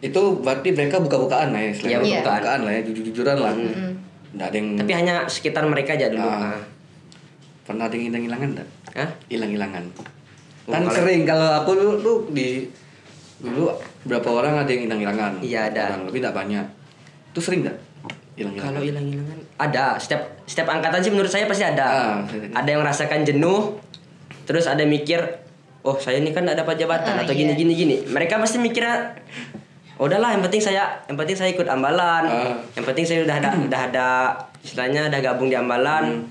Speaker 1: itu berarti mereka buka-bukaan lah ya istilahnya
Speaker 3: Iya,
Speaker 1: buka-bukaan.
Speaker 3: buka-bukaan.
Speaker 1: lah ya jujur-jujuran lah nggak ada yang
Speaker 3: tapi hanya sekitar mereka aja dulu
Speaker 1: Ah.
Speaker 3: Nah.
Speaker 1: pernah ada yang hilang-hilangan nggak
Speaker 3: Hah?
Speaker 1: hilang-hilangan
Speaker 3: Oh,
Speaker 1: kan
Speaker 3: kalau-
Speaker 1: sering kalau aku dulu tuh di dulu berapa orang ada yang hilang-hilangan
Speaker 3: Iya, ada.
Speaker 1: orang lebih nggak banyak itu sering nggak hilang-hilangan
Speaker 3: kalau hilang-hilangan ada setiap setiap angkatan sih menurut saya pasti
Speaker 1: Ah.
Speaker 3: ada ada yang merasakan jenuh terus ada mikir oh saya ini kan nggak dapat jabatan
Speaker 2: Ah,
Speaker 3: atau gini
Speaker 2: iya.
Speaker 3: gini gini mereka pasti mikirnya "Oh, udahlah yang penting saya yang penting saya ikut ambalan
Speaker 1: Ah.
Speaker 3: yang penting saya udah ada udah ada istilahnya udah gabung di ambalan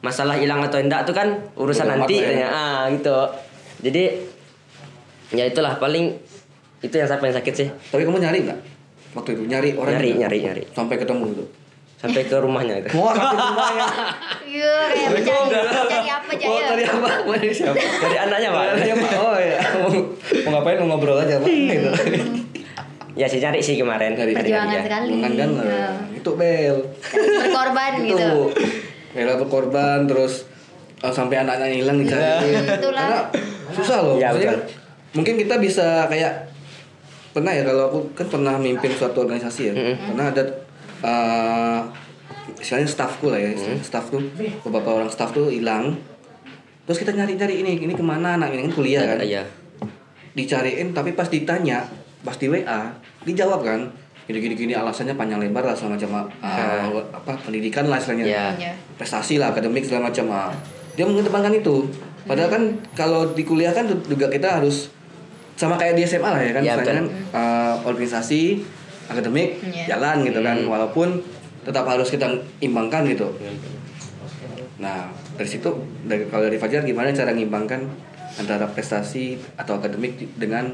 Speaker 3: masalah hilang atau enggak itu kan urusan
Speaker 1: Bodo amat
Speaker 3: nanti
Speaker 1: lah Hmm. ya.
Speaker 3: katanya ah gitu jadi ya itulah paling itu yang saya paling sakit sih
Speaker 1: Tapi kamu nyari nggak? Waktu itu nyari orang
Speaker 3: Nyari,
Speaker 1: nggak?
Speaker 3: nyari, nyari.
Speaker 1: Sampai ketemu gitu.
Speaker 3: sampai ke rumahnya itu
Speaker 1: Mau sampai ketemu ya.
Speaker 2: iya kayak mencari mencari apa
Speaker 3: Oh,
Speaker 2: aja
Speaker 1: Mau
Speaker 2: ya.
Speaker 1: cari apa? Mau cari siapa?
Speaker 3: dari anaknya pak Iya.
Speaker 1: Iya, Pak. Oh iya. Mau, mau ngapain? Mau ngobrol aja pak. Gitu.
Speaker 3: Ya sih cari sih kemarin.
Speaker 1: Nyari.
Speaker 2: Perjuangan
Speaker 3: Iya.
Speaker 2: sekali.
Speaker 1: Bukan kan?
Speaker 2: Iya.
Speaker 1: Itu bel.
Speaker 2: Berkorban
Speaker 1: Itu.
Speaker 2: gitu.
Speaker 1: Bela berkorban terus eh, sampai anaknya hilang dicari.
Speaker 2: Iya. itulah.
Speaker 1: Karena susah loh.
Speaker 3: Iya,
Speaker 1: Maksudnya,
Speaker 3: betul.
Speaker 1: mungkin kita bisa kayak pernah ya kalau aku kan pernah mimpin suatu organisasi ya pernah ada eh misalnya staffku lah ya staffku beberapa orang staff tuh hilang terus kita nyari-nyari ini ini kemana anak ini kan kuliah kan
Speaker 3: Iya.
Speaker 1: dicariin tapi pas ditanya pas di WA dijawab kan gini-gini gini alasannya panjang lebar lah sama macam ah, apa pendidikan lah istilahnya
Speaker 3: Iya.
Speaker 2: Iya.
Speaker 1: prestasi lah akademik segala macam ah. dia mengedepankan itu padahal kan kalau di kuliah kan juga kita harus sama kayak di SMA lah ya kan
Speaker 3: Iya,
Speaker 1: misalnya kan eh, organisasi akademik
Speaker 2: Iya.
Speaker 1: jalan gitu kan walaupun tetap harus kita imbangkan gitu nah dari situ dari kalau dari Fajar gimana cara ngimbangkan antara prestasi atau akademik di- dengan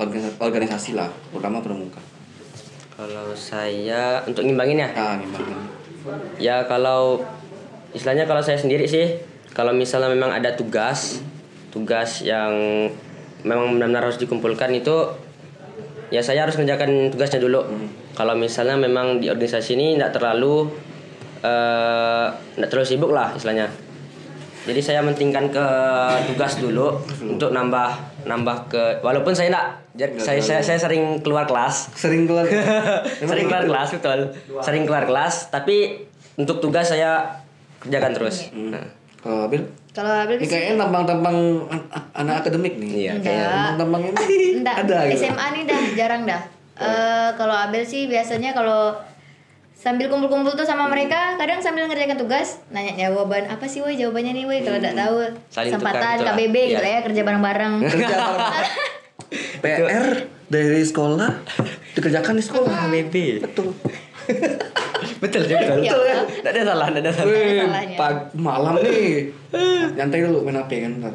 Speaker 1: organisa- organisasi lah terutama pramuka
Speaker 3: Kalau saya untuk ngimbangin ya.
Speaker 1: ah ngimbangkan
Speaker 3: Ya kalau istilahnya kalau saya sendiri sih kalau misalnya memang ada tugas tugas yang memang benar-benar harus dikumpulkan itu ya saya harus mengerjakan tugasnya dulu. Kalau misalnya memang di organisasi ini tidak terlalu eh, nggak terlalu sibuk lah istilahnya. Jadi saya mentingkan ke tugas dulu untuk nambah nambah ke walaupun saya tidak saya, saya saya sering keluar kelas
Speaker 1: sering keluar Emang
Speaker 3: sering keluar
Speaker 1: gitu?
Speaker 3: kelas betul sering keluar kelas tapi untuk tugas saya kerjakan terus nah,
Speaker 1: kalau Abil
Speaker 2: Kalau Abel
Speaker 1: ini
Speaker 2: bisa
Speaker 1: kayaknya tambang-tambang an- an- anak akademik nih
Speaker 3: iya
Speaker 2: Enggak.
Speaker 3: kayak
Speaker 1: tambang-tambang ini
Speaker 2: Enggak,
Speaker 1: ada gitu
Speaker 2: SMA nih dah jarang dah. Eh kalau Abel sih biasanya kalau sambil kumpul-kumpul tuh sama mereka, kadang sambil ngerjakan tugas, nanya jawaban apa sih woi jawabannya nih woi kalau enggak tahu.
Speaker 3: Hmm. Saling tukar
Speaker 2: Sempatan
Speaker 3: gitu lah.
Speaker 2: KBB gitu
Speaker 3: Iya.
Speaker 2: lah ya kerja bareng-bareng.
Speaker 1: kerja bareng. PR dari sekolah dikerjakan di sekolah Gitu.
Speaker 3: KBB
Speaker 1: betul
Speaker 3: betul betul
Speaker 2: Iya.
Speaker 3: betul tidak ada salah tidak ada salah
Speaker 1: Wih,
Speaker 2: salahnya.
Speaker 1: pag malam nih nyantai dulu main HP kan ntar.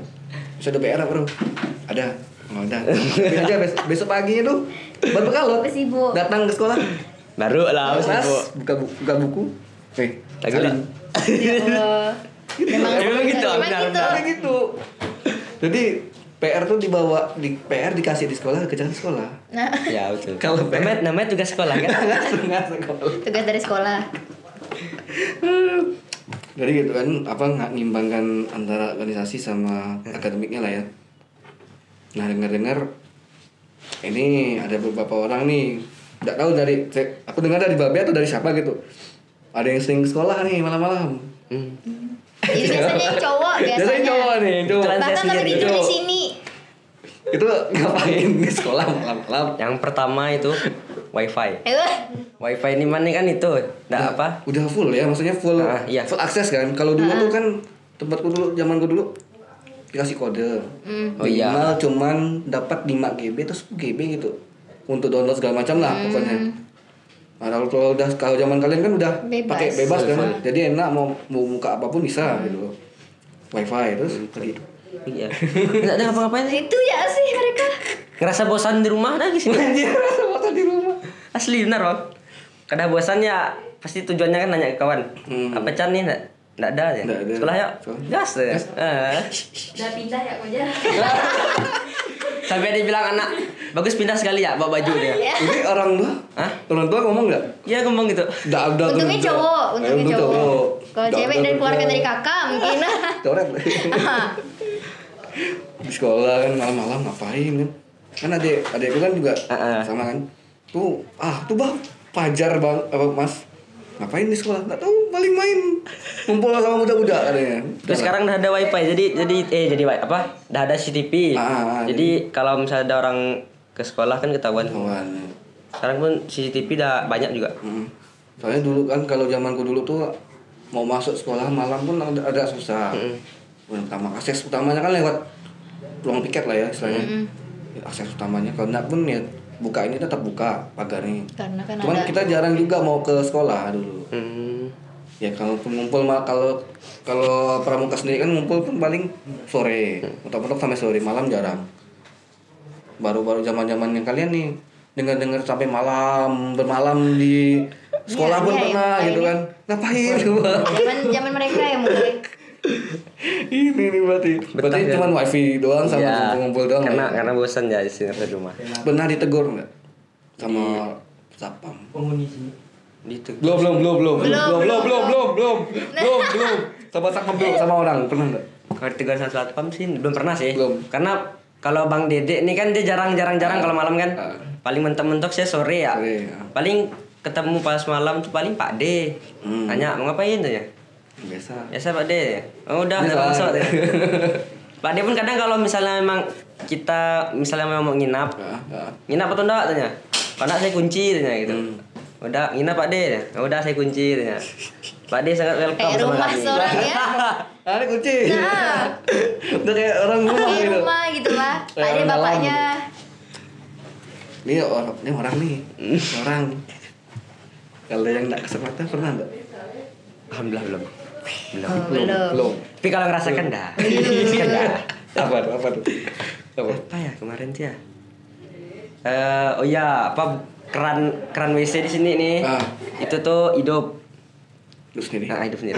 Speaker 1: bisa ada PR apa bro ada Oh, udah. Bikin aja bes- besok paginya tuh baru kalau
Speaker 2: Sibuk.
Speaker 1: datang ke sekolah.
Speaker 3: Baru lah
Speaker 1: Kelas,
Speaker 3: sibuk.
Speaker 1: buka, bu- buka buku. Eh,
Speaker 3: Lagi
Speaker 1: salah.
Speaker 3: lah.
Speaker 2: Ya Allah. Memang
Speaker 3: Emang gitu,
Speaker 2: Memang
Speaker 3: benar,
Speaker 2: gitu.
Speaker 1: Kayak gitu. Jadi PR tuh dibawa di PR dikasih di sekolah kerjaan sekolah.
Speaker 2: Nah,
Speaker 3: Ya betul.
Speaker 1: Kalau
Speaker 3: namanya, namanya tugas sekolah kan?
Speaker 1: Setengah sekolah.
Speaker 2: tugas dari sekolah.
Speaker 1: Jadi gitu kan apa nggak ngimbangkan antara organisasi sama akademiknya lah ya. Nah dengar-dengar ini ada beberapa orang nih nggak tahu dari cek- aku dengar dari babe atau dari siapa gitu. Ada yang sering ke sekolah nih malam-malam.
Speaker 3: Hmm.
Speaker 2: Ya, biasanya yang cowok biasanya. Nah.
Speaker 1: Biasanya cowok nih, cowok.
Speaker 3: Kelas-
Speaker 2: Bahkan
Speaker 3: Biasanya
Speaker 2: sampai tidur di
Speaker 1: cowok.
Speaker 2: sini.
Speaker 1: Itu ngapain di sekolah malam-malam?
Speaker 3: Yang pertama itu wifi.
Speaker 2: Eh, wah.
Speaker 3: Wifi ini mana kan itu? Nggak
Speaker 1: Iya.
Speaker 3: apa?
Speaker 1: udah full ya maksudnya full
Speaker 3: Ah, iya.
Speaker 1: full akses kan kalau dulu
Speaker 2: Ah.
Speaker 1: tuh kan tempatku dulu zamanku dulu dikasih kode
Speaker 2: Hmm.
Speaker 3: Oh, iya.
Speaker 1: minimal cuman dapat 5 GB atau 10 GB gitu untuk download segala macam lah pokoknya nah, kalau, kalau udah kalau zaman kalian kan udah
Speaker 2: Hmm. Bebas. Hmm.
Speaker 1: pakai bebas kan jadi enak mau mau buka apapun bisa gitu loh wifi terus tadi
Speaker 3: Iya. Nggak ada apa-apain sih.
Speaker 2: Itu ya sih mereka.
Speaker 3: Ngerasa bosan di rumah lagi sih.
Speaker 1: anjir mata di rumah
Speaker 3: Asli benar bang. Kadang bosannya pasti tujuannya kan nanya ke kawan.
Speaker 1: Hmm.
Speaker 3: Apa can nih? Nggak nggak ada ya.
Speaker 1: Nggak ada.
Speaker 3: Sekolah yuk.
Speaker 1: Sekolah.
Speaker 3: Gas ya. Eh.
Speaker 2: Udah pindah ya kok jarang.
Speaker 3: Sampai dia bilang anak bagus pindah sekali ya bawa baju dia.
Speaker 1: jadi orang tua
Speaker 3: Hah?
Speaker 1: orang tua ngomong nggak
Speaker 3: Iya ngomong gitu.
Speaker 1: Nggak ada tuh.
Speaker 2: Untungnya cowok,
Speaker 1: Eh,
Speaker 2: untungnya
Speaker 1: untung
Speaker 2: cowok. Kalau
Speaker 1: Nggak
Speaker 2: cewek
Speaker 1: ada
Speaker 2: dari
Speaker 1: tuh
Speaker 2: keluarga
Speaker 1: cowok.
Speaker 2: dari kakak mungkin.
Speaker 1: Coret.
Speaker 2: Ah,
Speaker 1: di sekolah kan malam-malam ngapain kan kan adik adikku kan juga
Speaker 3: Heeh.
Speaker 1: sama kan tuh ah tuh bang pajar bang apa mas ngapain di sekolah nggak tahu paling main ngumpul sama budak-budak katanya
Speaker 3: Terus sekarang udah ada wifi jadi jadi eh jadi wi- apa? Udah ada CCTV.
Speaker 1: Ah, ah,
Speaker 3: jadi kalau misalnya ada orang ke sekolah kan ketahuan.
Speaker 1: kawan
Speaker 3: Sekarang pun CCTV udah banyak juga.
Speaker 1: Mm. soalnya dulu kan kalau zamanku dulu tuh mau masuk sekolah malam pun ada, ada susah utama akses utamanya kan lewat peluang piket lah ya istilahnya Ya, akses utamanya kalau nggak pun ya buka ini tetap buka pagarnya
Speaker 2: karena kan
Speaker 1: cuman
Speaker 2: ada.
Speaker 1: kita jarang juga mau ke sekolah dulu
Speaker 3: Hmm.
Speaker 1: ya kalau pengumpul mah kalau kalau pramuka sendiri kan ngumpul pun paling sore mentok-mentok sampai sore malam jarang baru-baru zaman zamannya kalian nih dengar-dengar sampai malam bermalam di sekolah
Speaker 2: Iya,
Speaker 1: pun
Speaker 2: iya,
Speaker 1: pernah
Speaker 2: iya,
Speaker 1: gitu
Speaker 2: iya.
Speaker 1: kan ngapain coba
Speaker 2: Zaman zaman mereka ya mungkin.
Speaker 1: ini nih berarti berarti
Speaker 3: Betah, ya?
Speaker 1: cuma wifi doang sama
Speaker 3: Iya.
Speaker 1: ngumpul-ngumpul doang ya?
Speaker 3: Karena karena bosan ya di sini di rumah.
Speaker 1: pernah ditegur nggak sama satpam
Speaker 3: Gitu.
Speaker 1: belum belum belum belum
Speaker 2: Belum,
Speaker 1: belum
Speaker 2: belum,
Speaker 1: belum belum belum belum belum sama satpam belum sama orang pernah nggak
Speaker 3: Kalau ditegur sama satpam sih belum pernah sih.
Speaker 1: Belum.
Speaker 3: Karena kalau Bang Dedek ini kan dia jarang-jarang jarang kalau malam kan.
Speaker 1: Ah.
Speaker 3: Paling mentok-mentok saya sore ya.
Speaker 1: Sore, ah.
Speaker 3: Paling ketemu pas malam tuh paling Pak D.
Speaker 1: Hmm.
Speaker 3: Nanya mau ngapain tuh ya?
Speaker 1: biasa
Speaker 3: Biasa Pak D. Oh, udah
Speaker 1: Biasa.
Speaker 3: udah masuk. tuh. Pak D pun kadang kalau misalnya memang kita misalnya memang mau nginap,
Speaker 1: Ah, ah.
Speaker 3: nginap atau enggak tanya. Pak enggak saya kunci tanya gitu.
Speaker 1: Hmm.
Speaker 3: Udah nginap Pak D. tanya. "Oh, Udah saya kunci tanya. Pak D sangat welcome
Speaker 2: Kayak
Speaker 3: sama
Speaker 2: rumah
Speaker 3: kami.
Speaker 2: seorang ya.
Speaker 1: Ada kunci.
Speaker 2: Nah.
Speaker 1: Udah kayak orang rumah
Speaker 2: Di
Speaker 1: gitu.
Speaker 2: rumah gitu lah.
Speaker 1: Kayak
Speaker 2: Ada
Speaker 1: orang dalam.
Speaker 2: bapaknya.
Speaker 1: Ini orang, ini orang nih. Ini orang. Kalau yang enggak kesempatan pernah enggak?
Speaker 3: Alhamdulillah belum. Belum.
Speaker 2: Oh, belum.
Speaker 1: Belum.
Speaker 3: Tapi kalau ngerasakan dah.
Speaker 2: Iya.
Speaker 3: Ngerasakan dah.
Speaker 1: Apa tuh? Apa tuh? Apa?
Speaker 3: Apa ya kemarin tuh ya? Eh, oh ya, apa keran keran WC di sini nih.
Speaker 1: Ah.
Speaker 3: Itu tuh hidup.
Speaker 1: Lu sendiri.
Speaker 3: Nah, hidup sendiri.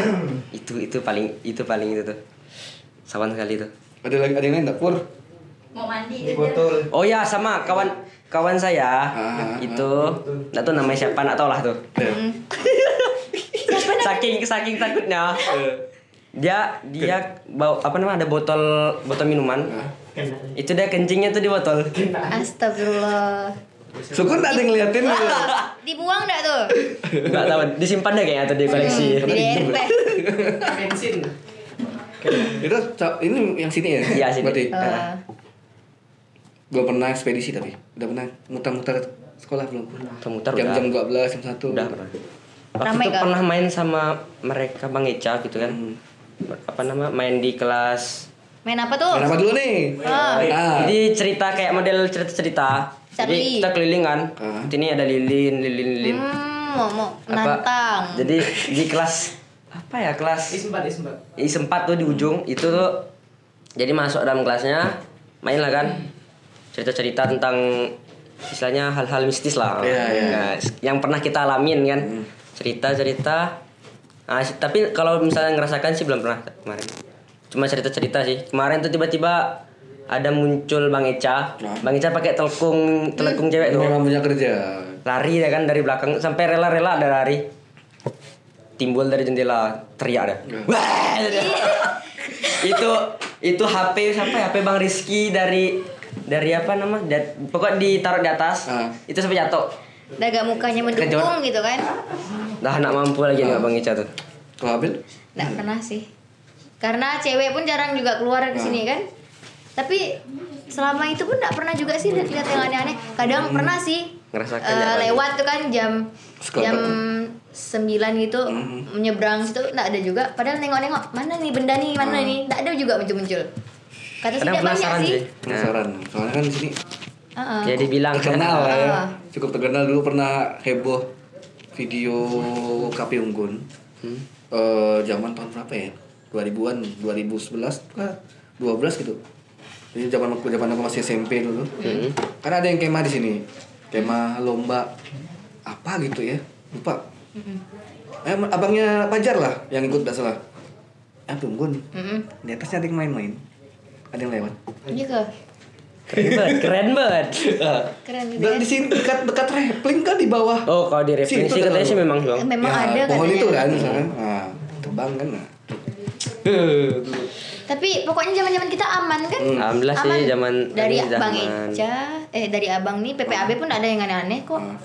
Speaker 3: itu itu paling itu paling itu tuh. Sawan sekali tuh.
Speaker 1: Ada lagi ada yang lain enggak, Pur?
Speaker 4: mau mandi
Speaker 5: di
Speaker 4: dia.
Speaker 5: botol
Speaker 3: Oh ya, sama kawan kawan saya
Speaker 1: Ah.
Speaker 3: itu nggak tahu namanya siapa nggak tahu lah tuh
Speaker 1: Ya.
Speaker 4: Hmm.
Speaker 3: saking saking takutnya
Speaker 1: Eh,
Speaker 3: dia dia bawa apa namanya ada botol botol minuman
Speaker 1: Ah.
Speaker 3: itu dia kencingnya tuh di botol
Speaker 2: Nah. Astagfirullah.
Speaker 1: Syukur enggak ada yang ngeliatin lu.
Speaker 2: Dibuang enggak tuh?
Speaker 3: Enggak tahu, disimpan deh kayaknya atau di koleksi.
Speaker 2: Hmm, Di DRP.
Speaker 5: bensin
Speaker 1: Itu cap- ini yang sini ya?
Speaker 3: Iya, sini.
Speaker 1: Berarti
Speaker 2: Eh,
Speaker 1: belum pernah ekspedisi tapi udah pernah muter-muter sekolah belum?
Speaker 3: Muter-muter
Speaker 1: jam
Speaker 3: udah.
Speaker 1: jam 12 jam 1.
Speaker 3: Udah pernah. Waktu
Speaker 2: Ramai
Speaker 3: itu
Speaker 2: kan?
Speaker 3: pernah main sama mereka Bang Eca gitu kan.
Speaker 1: Hmm.
Speaker 3: Apa nama? Main di kelas.
Speaker 2: Main apa tuh?
Speaker 1: Kenapa dulu nih?
Speaker 2: Ah.
Speaker 1: Ah.
Speaker 3: Jadi cerita kayak model cerita-cerita. Jadi
Speaker 2: Charlie.
Speaker 3: kita keliling kan.
Speaker 1: Ah.
Speaker 3: Ini ada lilin, lilin, lilin.
Speaker 2: Hmm, mau mau
Speaker 3: Apa-
Speaker 2: menantang.
Speaker 3: Jadi di kelas apa ya kelas
Speaker 5: isbat isbat
Speaker 3: Ih, sempat tuh di ujung itu tuh jadi masuk dalam kelasnya main lah kan cerita-cerita tentang istilahnya hal-hal mistis lah
Speaker 1: Iya, iya. Hmm.
Speaker 3: Nah, s- yang pernah kita alamin kan cerita-cerita Nah, s- tapi kalau misalnya ngerasakan sih belum pernah kemarin cuma cerita-cerita sih kemarin tuh tiba-tiba ada muncul Bang Eca
Speaker 1: Nah. Iya.
Speaker 3: Bang Eca pakai telkung telkung cewek tuh
Speaker 1: Orang punya kerja.
Speaker 3: lari ya kan dari belakang sampai rela-rela ada lari timbul dari jendela teriak dah wah
Speaker 2: Iya.
Speaker 3: itu itu HP siapa ya? HP Bang Rizky dari dari apa nama da- pokok ditaruh di atas
Speaker 1: Ah.
Speaker 3: itu sampai jatuh
Speaker 2: Daga mukanya mendukung gitu kan?
Speaker 3: dah anak mampu lagi
Speaker 2: Ah.
Speaker 3: nggak Bang Ica tuh
Speaker 1: Kalau
Speaker 3: Nah.
Speaker 1: Abil?
Speaker 2: Nggak pernah sih. Karena cewek pun jarang juga keluar ke sini kan? Tapi selama itu pun nggak pernah juga sih lihat lihat yang aneh-aneh. Kadang pernah sih
Speaker 3: Ngerasakan
Speaker 2: eh,
Speaker 3: ya, Bang.
Speaker 2: lewat tuh kan jam
Speaker 1: Sekolah.
Speaker 2: jam 9 gitu menyeberang situ nggak ada juga. Padahal nengok-nengok mana nih benda nih mana nih nggak ada juga muncul-muncul.
Speaker 3: kadang
Speaker 2: Kata sih nggak banyak
Speaker 3: penasaran
Speaker 2: sih.
Speaker 3: sih nah,
Speaker 1: Penasaran. Soalnya kan di sini
Speaker 2: Heeh.
Speaker 3: jadi bilang
Speaker 1: terkenal lah ya.
Speaker 2: Ah.
Speaker 1: Cukup terkenal dulu pernah heboh video Kapi Unggun. Eh, zaman tahun berapa ya? 2000-an, 2011 kah? 12 gitu. Jadi zaman aku zaman aku masih SMP dulu. Karena ada yang kemah di sini. Kemah lomba apa gitu ya? Lupa. Eh, abangnya Pajar lah yang ikut enggak salah. Eh, Unggun.
Speaker 2: Mm-mm.
Speaker 1: Di atasnya ada yang main-main. Ada yang lewat.
Speaker 2: Iya kok.
Speaker 3: keren banget keren banget
Speaker 2: Keren gitu
Speaker 1: Dan
Speaker 2: ya.
Speaker 1: di sini dekat dekat rappling kan di bawah.
Speaker 3: oh kalau di
Speaker 1: Situ
Speaker 3: referensi katanya
Speaker 1: terlalu.
Speaker 3: sih memang dong
Speaker 2: Eh, Memang
Speaker 1: Ya,
Speaker 2: ada
Speaker 1: pohon
Speaker 2: katanya.
Speaker 1: itu kan misalkan. Nah, terbang kan. Nah.
Speaker 2: Tapi pokoknya zaman-zaman kita aman kan?
Speaker 1: Hmm.
Speaker 3: alhamdulillah sih
Speaker 2: aman.
Speaker 3: zaman
Speaker 2: dari
Speaker 3: ini
Speaker 2: Bang
Speaker 3: zaman-
Speaker 2: Eca, eh dari Abang nih PPAB pun nggak ada yang aneh-aneh kok.
Speaker 3: Hmm.
Speaker 1: Nah.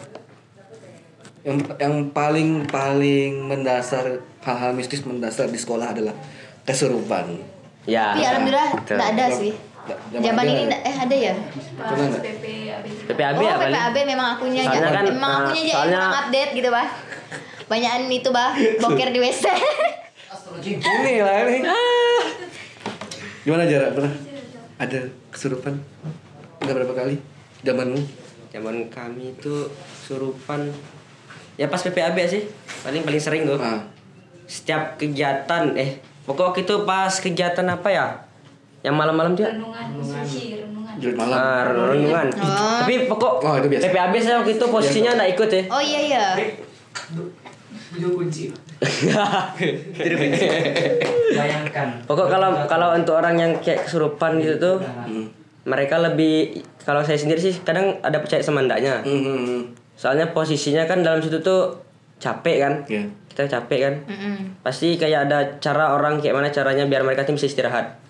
Speaker 1: Yang yang paling paling mendasar hal-hal mistis mendasar di sekolah adalah kesurupan.
Speaker 3: ya
Speaker 2: Iya. Tapi alhamdulillah
Speaker 3: betul.
Speaker 2: nggak ada
Speaker 1: Zaman-
Speaker 2: Iya sih.
Speaker 1: zaman
Speaker 2: Zaman
Speaker 1: ada.
Speaker 2: ini nggak- eh ada ya?
Speaker 1: Cuman nggak?
Speaker 3: PPAB
Speaker 2: oh,
Speaker 3: ya paling
Speaker 2: PPAB memang akunya aja.
Speaker 3: Soalnya kan,
Speaker 2: memang
Speaker 3: eh,
Speaker 2: akunya aja
Speaker 3: soalnya-
Speaker 2: yang kurang update gitu, Bah. Banyakan itu, Bah, boker di WC.
Speaker 1: ini lah ini.
Speaker 2: Ah.
Speaker 1: Gimana jarak pernah? Ada kesurupan? Udah berapa kali? Zamanmu?
Speaker 3: Zaman kami itu surupan ya pas PPAB sih paling paling sering tuh.
Speaker 1: Ah.
Speaker 3: Setiap kegiatan eh pokok waktu itu pas kegiatan apa ya? Yang malam-malam dia
Speaker 4: renungan suci renungan
Speaker 1: Jumat malam.
Speaker 3: ah, renungan.
Speaker 2: Oh.
Speaker 3: Tapi pokok
Speaker 1: Oh, itu biasa.
Speaker 3: PPAB saya waktu itu posisinya enggak ikut ya.
Speaker 2: Oh iya iya.
Speaker 5: Video kunci. Bayangkan.
Speaker 3: Pokok kalau kalau untuk orang yang kayak kesurupan gitu tuh
Speaker 1: Hmm.
Speaker 3: mereka lebih kalau saya sendiri sih kadang ada percaya sama ndaknya.
Speaker 1: Hmm, hmm, hmm.
Speaker 3: Soalnya posisinya kan dalam situ tuh capek kan.
Speaker 1: Iya.
Speaker 3: Kita capek kan.
Speaker 2: Mm-mm.
Speaker 3: pasti kayak ada cara orang kayak mana caranya biar mereka tuh bisa istirahat.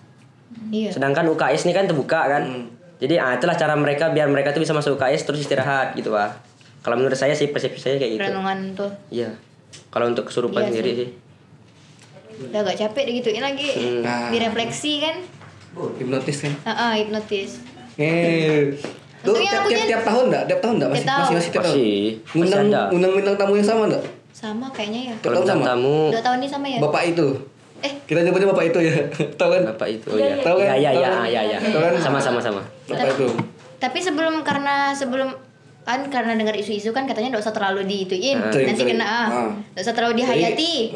Speaker 2: Iya. Hmm.
Speaker 3: Sedangkan UKS ini kan terbuka kan. Jadi ah itulah cara mereka biar mereka tuh bisa masuk UKS terus istirahat gitu pak. Kalau menurut saya sih persepsi saya kayak gitu.
Speaker 2: Renungan tuh.
Speaker 3: Iya. Kalau untuk kesurupan
Speaker 2: Iya
Speaker 3: sendiri
Speaker 2: sih.
Speaker 3: sih.
Speaker 2: Udah gak capek digituin lagi.
Speaker 3: Hmm.
Speaker 1: Nah.
Speaker 2: Direfleksi kan?
Speaker 1: Hipnotis kan?
Speaker 2: Heeh, hipnotis.
Speaker 1: Eh. Tuh,
Speaker 2: Untungnya
Speaker 1: tiap,
Speaker 2: aku
Speaker 1: tiap,
Speaker 2: kan-
Speaker 1: tiap tahun enggak? Tiap tahun enggak? Masih,
Speaker 2: Tiap
Speaker 1: masih,
Speaker 2: tahun.
Speaker 1: masih tiap tahun?
Speaker 3: Masih. Masih
Speaker 1: Undang,
Speaker 3: ada.
Speaker 1: undang bintang tamu yang sama enggak?
Speaker 2: Sama kayaknya ya.
Speaker 1: Tiap
Speaker 3: Kalau
Speaker 1: tahun
Speaker 3: tentang
Speaker 1: sama?
Speaker 3: tamu
Speaker 2: Dua tahun ini sama ya?
Speaker 1: Bapak itu.
Speaker 2: Eh.
Speaker 1: Kita nyebutnya bapak itu ya. Tahu kan?
Speaker 3: bapak itu
Speaker 2: Iya,
Speaker 3: oh, ya.
Speaker 1: Tahu kan?
Speaker 3: Ya ya
Speaker 1: Tahu
Speaker 3: ya
Speaker 1: kan?
Speaker 3: ya ya.
Speaker 1: Tahu kan?
Speaker 3: Sama sama sama.
Speaker 1: Bapak itu.
Speaker 2: Tapi sebelum karena sebelum kan karena dengar isu-isu kan katanya nggak usah terlalu diituin
Speaker 1: Ah.
Speaker 2: nanti
Speaker 1: Sering-sering.
Speaker 2: kena ah
Speaker 1: Ah.
Speaker 2: nggak usah terlalu dihayati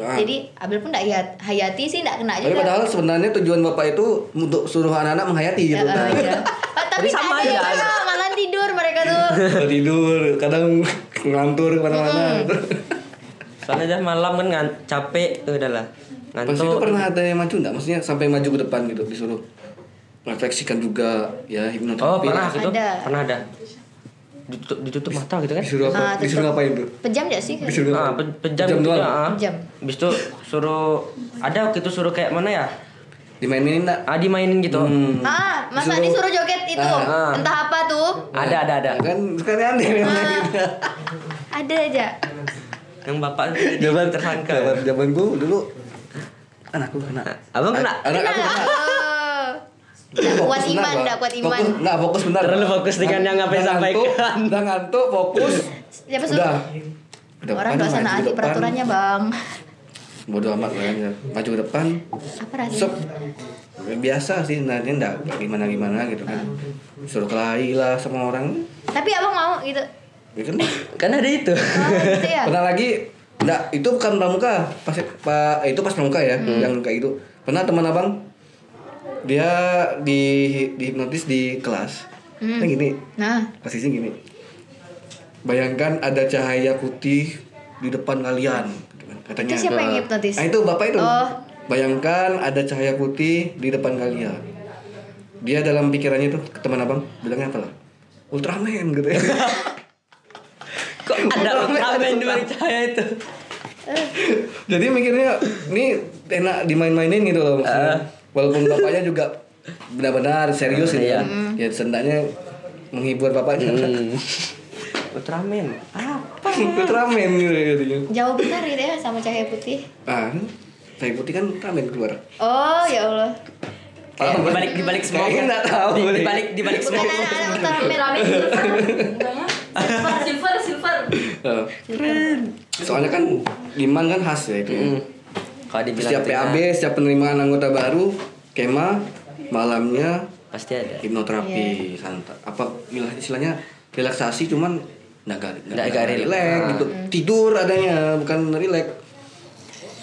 Speaker 1: Jadi, ah.
Speaker 2: jadi Abel pun nggak hayat- hayati sih nggak kena
Speaker 1: Tapi
Speaker 2: juga
Speaker 1: padahal sebenarnya tujuan bapak itu untuk suruh anak-anak menghayati
Speaker 2: Ya,
Speaker 1: gitu.
Speaker 2: ah, iya. Ah, tapi
Speaker 3: Jadi sama
Speaker 2: sama aja
Speaker 3: aja.
Speaker 2: malah tidur mereka tuh
Speaker 1: Kalau tidur, kadang ngelantur kemana-mana.
Speaker 3: Soalnya dah malam kan ngan, capek tuh udahlah.
Speaker 1: Pas itu
Speaker 3: Ngantuk.
Speaker 1: pernah ada yang maju enggak? Maksudnya sampai maju ke depan gitu disuruh refleksikan juga ya hipnoterapi.
Speaker 3: Oh pernah gitu.
Speaker 2: Ada.
Speaker 3: Pernah ada. Ditutup, ditutup mata gitu kan?
Speaker 1: Disuruh apa?
Speaker 2: Ah, tetep.
Speaker 1: disuruh ngapain tuh?
Speaker 2: pejam nggak sih
Speaker 1: Disuruh ngapain?
Speaker 3: Ah, pe- pejam,
Speaker 1: Pejam
Speaker 3: gitu
Speaker 1: doang?
Speaker 3: ya, ah.
Speaker 2: Pejam.
Speaker 3: Habis itu suruh ada waktu itu suruh kayak mana ya?
Speaker 1: Dimainin enggak?
Speaker 3: Ah dimainin gitu.
Speaker 2: ah masa
Speaker 1: Disuruh-
Speaker 2: disuruh joget itu
Speaker 1: Ah,
Speaker 3: ah.
Speaker 2: entah apa tuh
Speaker 3: Ada ada ada.
Speaker 1: Ya kan sekali aneh memang gitu.
Speaker 2: ada aja
Speaker 3: Yang bapak itu jadi tersangka. Nah,
Speaker 1: Zaman zaman gua dulu anakku kena.
Speaker 3: Abang kena?
Speaker 1: Anak aku kena.
Speaker 2: Ah. Nggak
Speaker 1: Fokus benar,
Speaker 2: kuat iman
Speaker 1: Bang.
Speaker 2: nggak kuat iman
Speaker 1: Fokus, nggak fokus benar.
Speaker 3: Terlalu fokus dengan yang apa yang
Speaker 1: Udah ngantuk,
Speaker 3: disampaikan.
Speaker 1: Udah ngantuk, fokus.
Speaker 2: Siapa suruh?
Speaker 1: Udah.
Speaker 2: orang
Speaker 1: Depan,
Speaker 2: dosa
Speaker 1: maju
Speaker 2: naati
Speaker 1: depan.
Speaker 2: peraturannya bang
Speaker 1: Bodoh amat lah ya. Maju ke depan.
Speaker 2: apa rasanya
Speaker 1: Sep. Biasa sih sebenarnya enggak gimana-gimana gitu kan. Suruh kelahi lah sama orang.
Speaker 2: tapi abang mau gitu
Speaker 1: Ya kan.
Speaker 3: Kan ada itu.
Speaker 2: Oh, gitu ya
Speaker 1: Pernah lagi Enggak, itu bukan pramuka. Pas pa, itu pas pramuka ya,
Speaker 2: Hmm.
Speaker 1: yang kayak itu. Pernah teman abang dia di dihipnotis di kelas. Nah gini,
Speaker 2: Nah,
Speaker 1: posisinya gini. Bayangkan ada cahaya putih di depan kalian. gitu kan. Katanya.
Speaker 2: Itu siapa yang hipnotis?
Speaker 1: Nah, itu bapak itu.
Speaker 2: Oh.
Speaker 1: Bayangkan ada cahaya putih di depan kalian. Dia dalam pikirannya tuh ke teman abang bilangnya apa lah? Ultraman gitu ya.
Speaker 3: Kok ada Ultraman dua cahaya itu?
Speaker 1: Jadi mikirnya ini enak dimain-mainin gitu loh
Speaker 3: Ah.
Speaker 1: maksudnya. Walaupun bapaknya juga benar-benar serius gitu
Speaker 3: iya.
Speaker 1: ya. Ya sendaknya menghibur bapaknya.
Speaker 3: Hmm. Ultraman. Ah,
Speaker 1: Ultraman gitu gitu.
Speaker 2: jauh benar gitu ya sama cahaya putih.
Speaker 1: Ah, saya putih kan Ultraman keluar. kan?
Speaker 2: Oh, ya Allah.
Speaker 1: Tahu,
Speaker 3: di balik di balik semua. kan?
Speaker 1: Kayaknya nggak tahu.
Speaker 3: Di, di balik di balik semua.
Speaker 2: Bukan anak-anak ultraman.
Speaker 4: Silver, silver, silver.
Speaker 1: Eh, Soalnya kan Liman kan khas ya itu.
Speaker 3: Hmm. Kalau dibilang
Speaker 1: Setiap
Speaker 3: itu ya,
Speaker 1: PAB, setiap penerimaan anggota baru, kema malamnya
Speaker 3: pasti ada.
Speaker 1: hipnoterapi santai. Apa ilah- istilahnya relaksasi cuman nggak ga- nggak
Speaker 3: Nggak
Speaker 1: nggak
Speaker 3: ga-
Speaker 1: rileks gitu. Tidur adanya bukan rileks.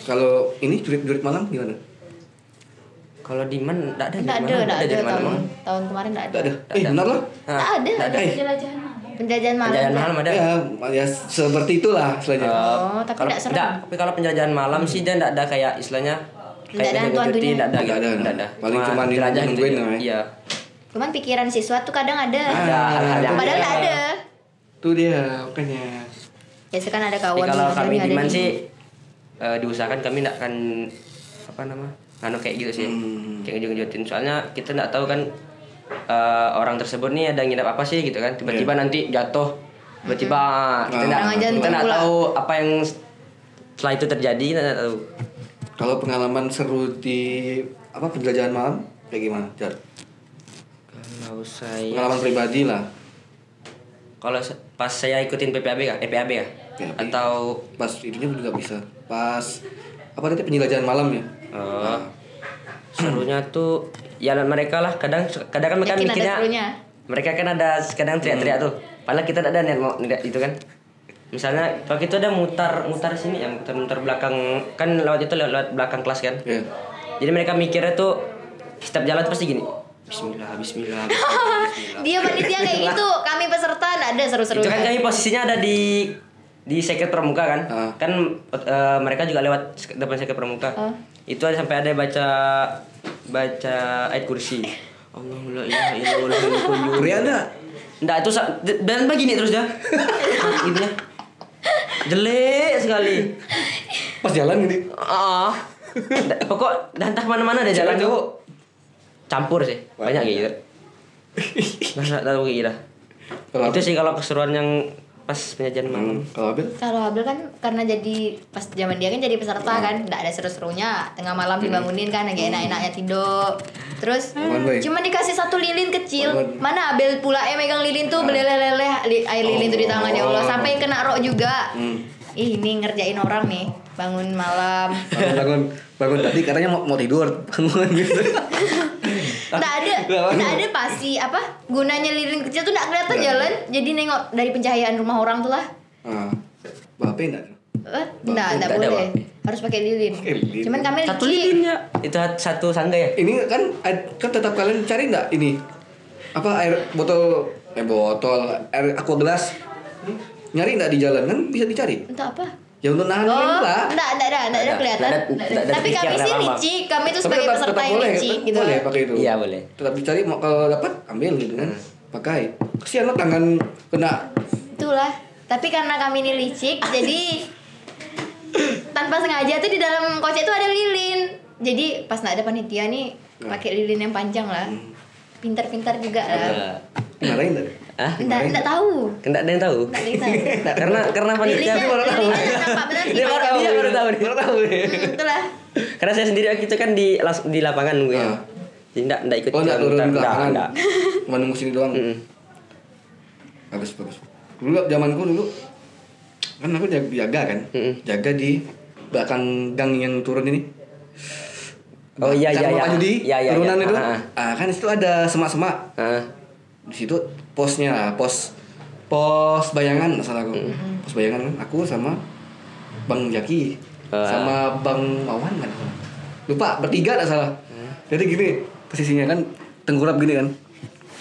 Speaker 1: Kalau ini jurit-jurit malam gimana?
Speaker 3: Kalau Diman enggak ada
Speaker 2: Enggak ada,
Speaker 3: Diman.
Speaker 2: enggak ada
Speaker 3: dari mana
Speaker 2: tahun
Speaker 3: mana.
Speaker 2: tahun kemarin enggak ada.
Speaker 1: Nggak ada. Eh, benar lah.
Speaker 2: Enggak ada.
Speaker 4: Ada
Speaker 1: Eh.
Speaker 4: penjelajahan malam.
Speaker 2: Penjajahan malam.
Speaker 3: Penjajahan malam ada. Ah.
Speaker 1: Ya, ya seperti itulah istilahnya.
Speaker 2: Oh, tapi
Speaker 3: Eh, Kalau-
Speaker 2: enggak serem.
Speaker 3: nggak, tapi kalau penjajahan malam sih dia enggak ada kayak istilahnya
Speaker 2: Nggak ada hantu-hantunya.
Speaker 3: enggak ada
Speaker 1: Nggak
Speaker 3: gitu,
Speaker 1: ada,
Speaker 3: nggak ada.
Speaker 1: paling cuma di
Speaker 3: jelajah gitu,
Speaker 1: nungguin
Speaker 3: iya.
Speaker 1: namanya.
Speaker 3: Iya.
Speaker 2: Cuman pikiran siswa tuh kadang ada.
Speaker 3: Ada hal-hal yang iya.
Speaker 2: Padahal enggak ada.
Speaker 1: Itu dia makanya.
Speaker 2: Biasa kan ada
Speaker 3: Tapi
Speaker 2: kawan
Speaker 3: kalau
Speaker 2: sama
Speaker 3: kami
Speaker 2: ada
Speaker 3: Diman
Speaker 2: di-
Speaker 3: sih eh, diusahakan kami enggak akan apa nama? Anu kayak gitu sih.
Speaker 1: Hmm.
Speaker 3: Kayak ngejung-ngejungin soalnya kita enggak tahu kan eh, orang tersebut nih ada ngidap apa sih gitu kan. Tiba-tiba
Speaker 1: Iya.
Speaker 3: nanti jatuh tiba-tiba kita
Speaker 1: Nah,
Speaker 3: enggak
Speaker 2: Hmm. orang aja
Speaker 3: kita enggak
Speaker 2: pula.
Speaker 3: tahu apa yang setelah itu terjadi kita enggak tahu.
Speaker 1: Kalau pengalaman seru di apa penjelajahan malam kayak gimana? Jar?
Speaker 3: Kalau saya
Speaker 1: Pengalaman pribadi lah.
Speaker 3: Kalau se- pas saya ikutin PPAB kah? Eh, PAB ya?
Speaker 1: PAB.
Speaker 3: Atau
Speaker 1: Pas itunya juga bisa. Pas apa tadi penjelajahan malam ya?
Speaker 3: eh, serunya tuh ya mereka lah kadang kadang kan mereka
Speaker 2: Yakin ada
Speaker 3: mikirnya
Speaker 2: serunya?
Speaker 3: mereka kan ada kadang teriak-teriak tuh. Padahal kita tidak ada niat mau tidak itu kan. Misalnya waktu itu ada mutar mutar sini yang mutar mutar belakang kan lewat itu lewat, lewat belakang kelas kan.
Speaker 1: Iya.
Speaker 3: Jadi mereka mikirnya tuh setiap jalan tuh pasti gini. Bismillah, Bismillah. bismillah, bismillah."
Speaker 2: Dia panitia kayak gitu, kami peserta enggak ada
Speaker 3: itu kan
Speaker 2: seru-serunya.
Speaker 3: kami posisinya ada di di sekret pramuka kan
Speaker 1: Ah.
Speaker 3: kan eh, mereka juga lewat sek- depan sekret pramuka
Speaker 2: Ah.
Speaker 3: itu ada sampai ada baca baca ayat kursi ya Allahumma la ilaha illallah wa la
Speaker 1: Ria ada?
Speaker 3: Nggak, itu sa- d- dan begini terus ya gitu ya jelek sekali
Speaker 1: Pas jalan gitu. gini.
Speaker 3: ah Da- pokok dan entah mana-mana ada jalan
Speaker 1: Cewek,
Speaker 3: tuh campur sih banyak kayak gitu nggak tahu kayak gitu
Speaker 1: Kalau
Speaker 3: itu sih kalau keseruan yang pas penyajian malam
Speaker 1: Kalau Abel?
Speaker 2: Kalau Abel kan karena jadi pas zaman dia kan jadi peserta kan, nggak ada seru-serunya. Tengah malam dibangunin kan, lagi enak-enaknya tidur. Terus
Speaker 1: Apaan, Boy?
Speaker 2: cuma dikasih satu lilin kecil.
Speaker 1: Apaan?
Speaker 2: Mana Abel pula eh megang lilin tuh beleleleleh li- air lilin tuh di tangan ya Allah sampai kena rok juga. Ih, ini ngerjain orang nih bangun malam.
Speaker 1: Bangun bangun bangun tadi katanya mau, mau tidur bangun gitu.
Speaker 2: Nggak ada, nggak ada pasti apa gunanya lilin kecil tuh nggak kelihatan jalan. Jadi nengok dari pencahayaan rumah orang tuh lah.
Speaker 1: Ah. Bape enggak?
Speaker 2: Eh, nggak, nggak
Speaker 3: nggak ada,
Speaker 2: boleh. Harus pakai lilin.
Speaker 1: Pakai lilin.
Speaker 2: Cuman kami
Speaker 3: satu
Speaker 2: licik.
Speaker 3: lilinnya itu hat- satu sangga ya
Speaker 1: Ini kan ad- kan tetap kalian cari enggak ini? Apa air botol eh botol air aqua gelas? Nyari enggak di jalan kan bisa dicari.
Speaker 2: Untuk apa?
Speaker 1: Ya untuk nahan
Speaker 2: Oh,
Speaker 1: lilin lah.
Speaker 2: enggak, enggak ada, enggak ada
Speaker 3: Nggak ada,
Speaker 2: kelihatan.
Speaker 3: nggak ada, nggak ada
Speaker 2: Tapi kami
Speaker 3: pikiran
Speaker 2: sih
Speaker 3: apa-apa.
Speaker 2: licik, kami tuh
Speaker 1: Tapi
Speaker 2: sebagai
Speaker 1: tetap-
Speaker 2: peserta
Speaker 1: tetap
Speaker 2: yang
Speaker 1: boleh,
Speaker 2: licik
Speaker 1: tetap
Speaker 2: gitu.
Speaker 1: boleh pakai itu
Speaker 3: Iya, boleh.
Speaker 1: tetap dicari mau kalau dapat ambil gitu kan pakai kesian lo tangan kena
Speaker 2: Itulah. Tapi karena kami ini licik, jadi tanpa sengaja tuh di dalam kocek tuh ada lilin. Jadi pas nggak ada panitia nih pakai lilin yang panjang lah. Pintar-pintar juga lah.
Speaker 1: dimarahin tadi
Speaker 3: ah
Speaker 2: Enggak, enggak tahu.
Speaker 3: enggak ada yang tahu
Speaker 2: Enggak bisa.
Speaker 3: karena karena panitia
Speaker 2: Lilinnya, lilinnya nampak benar sih.
Speaker 3: dia baru tahu dia baru tahu nih.
Speaker 1: Iya, baru tahu ya
Speaker 2: Hmm, Itulah.
Speaker 3: karena saya sendiri waktu itu kan di langsung di lapangan gue
Speaker 1: Ah.
Speaker 3: ya jadi enggak enggak ikut
Speaker 1: oh nggak turun
Speaker 3: enggak,
Speaker 1: ke lapangan
Speaker 3: enggak.
Speaker 1: cuma nunggu sini doang
Speaker 3: Mm-mm.
Speaker 1: bagus bagus dulu zamanku dulu kan aku jag- jaga kan
Speaker 3: Mm-mm.
Speaker 1: jaga di belakang gang yang turun ini
Speaker 3: oh iya iya
Speaker 1: Kan
Speaker 3: iya
Speaker 1: Bapak Judi,
Speaker 3: iya iya
Speaker 1: turunan
Speaker 3: iya.
Speaker 1: itu
Speaker 3: Ah,
Speaker 1: ah, kan di situ ada semak-semak
Speaker 3: ah.
Speaker 1: di situ posnya lah, pos pos bayangan salah aku
Speaker 3: Mm-hmm.
Speaker 1: pos bayangan kan, aku sama bang Jaki
Speaker 3: Ah.
Speaker 1: sama bang Wawan kan
Speaker 3: Hmm.
Speaker 1: lupa bertiga nggak salah jadi gini posisinya kan tengkurap gini kan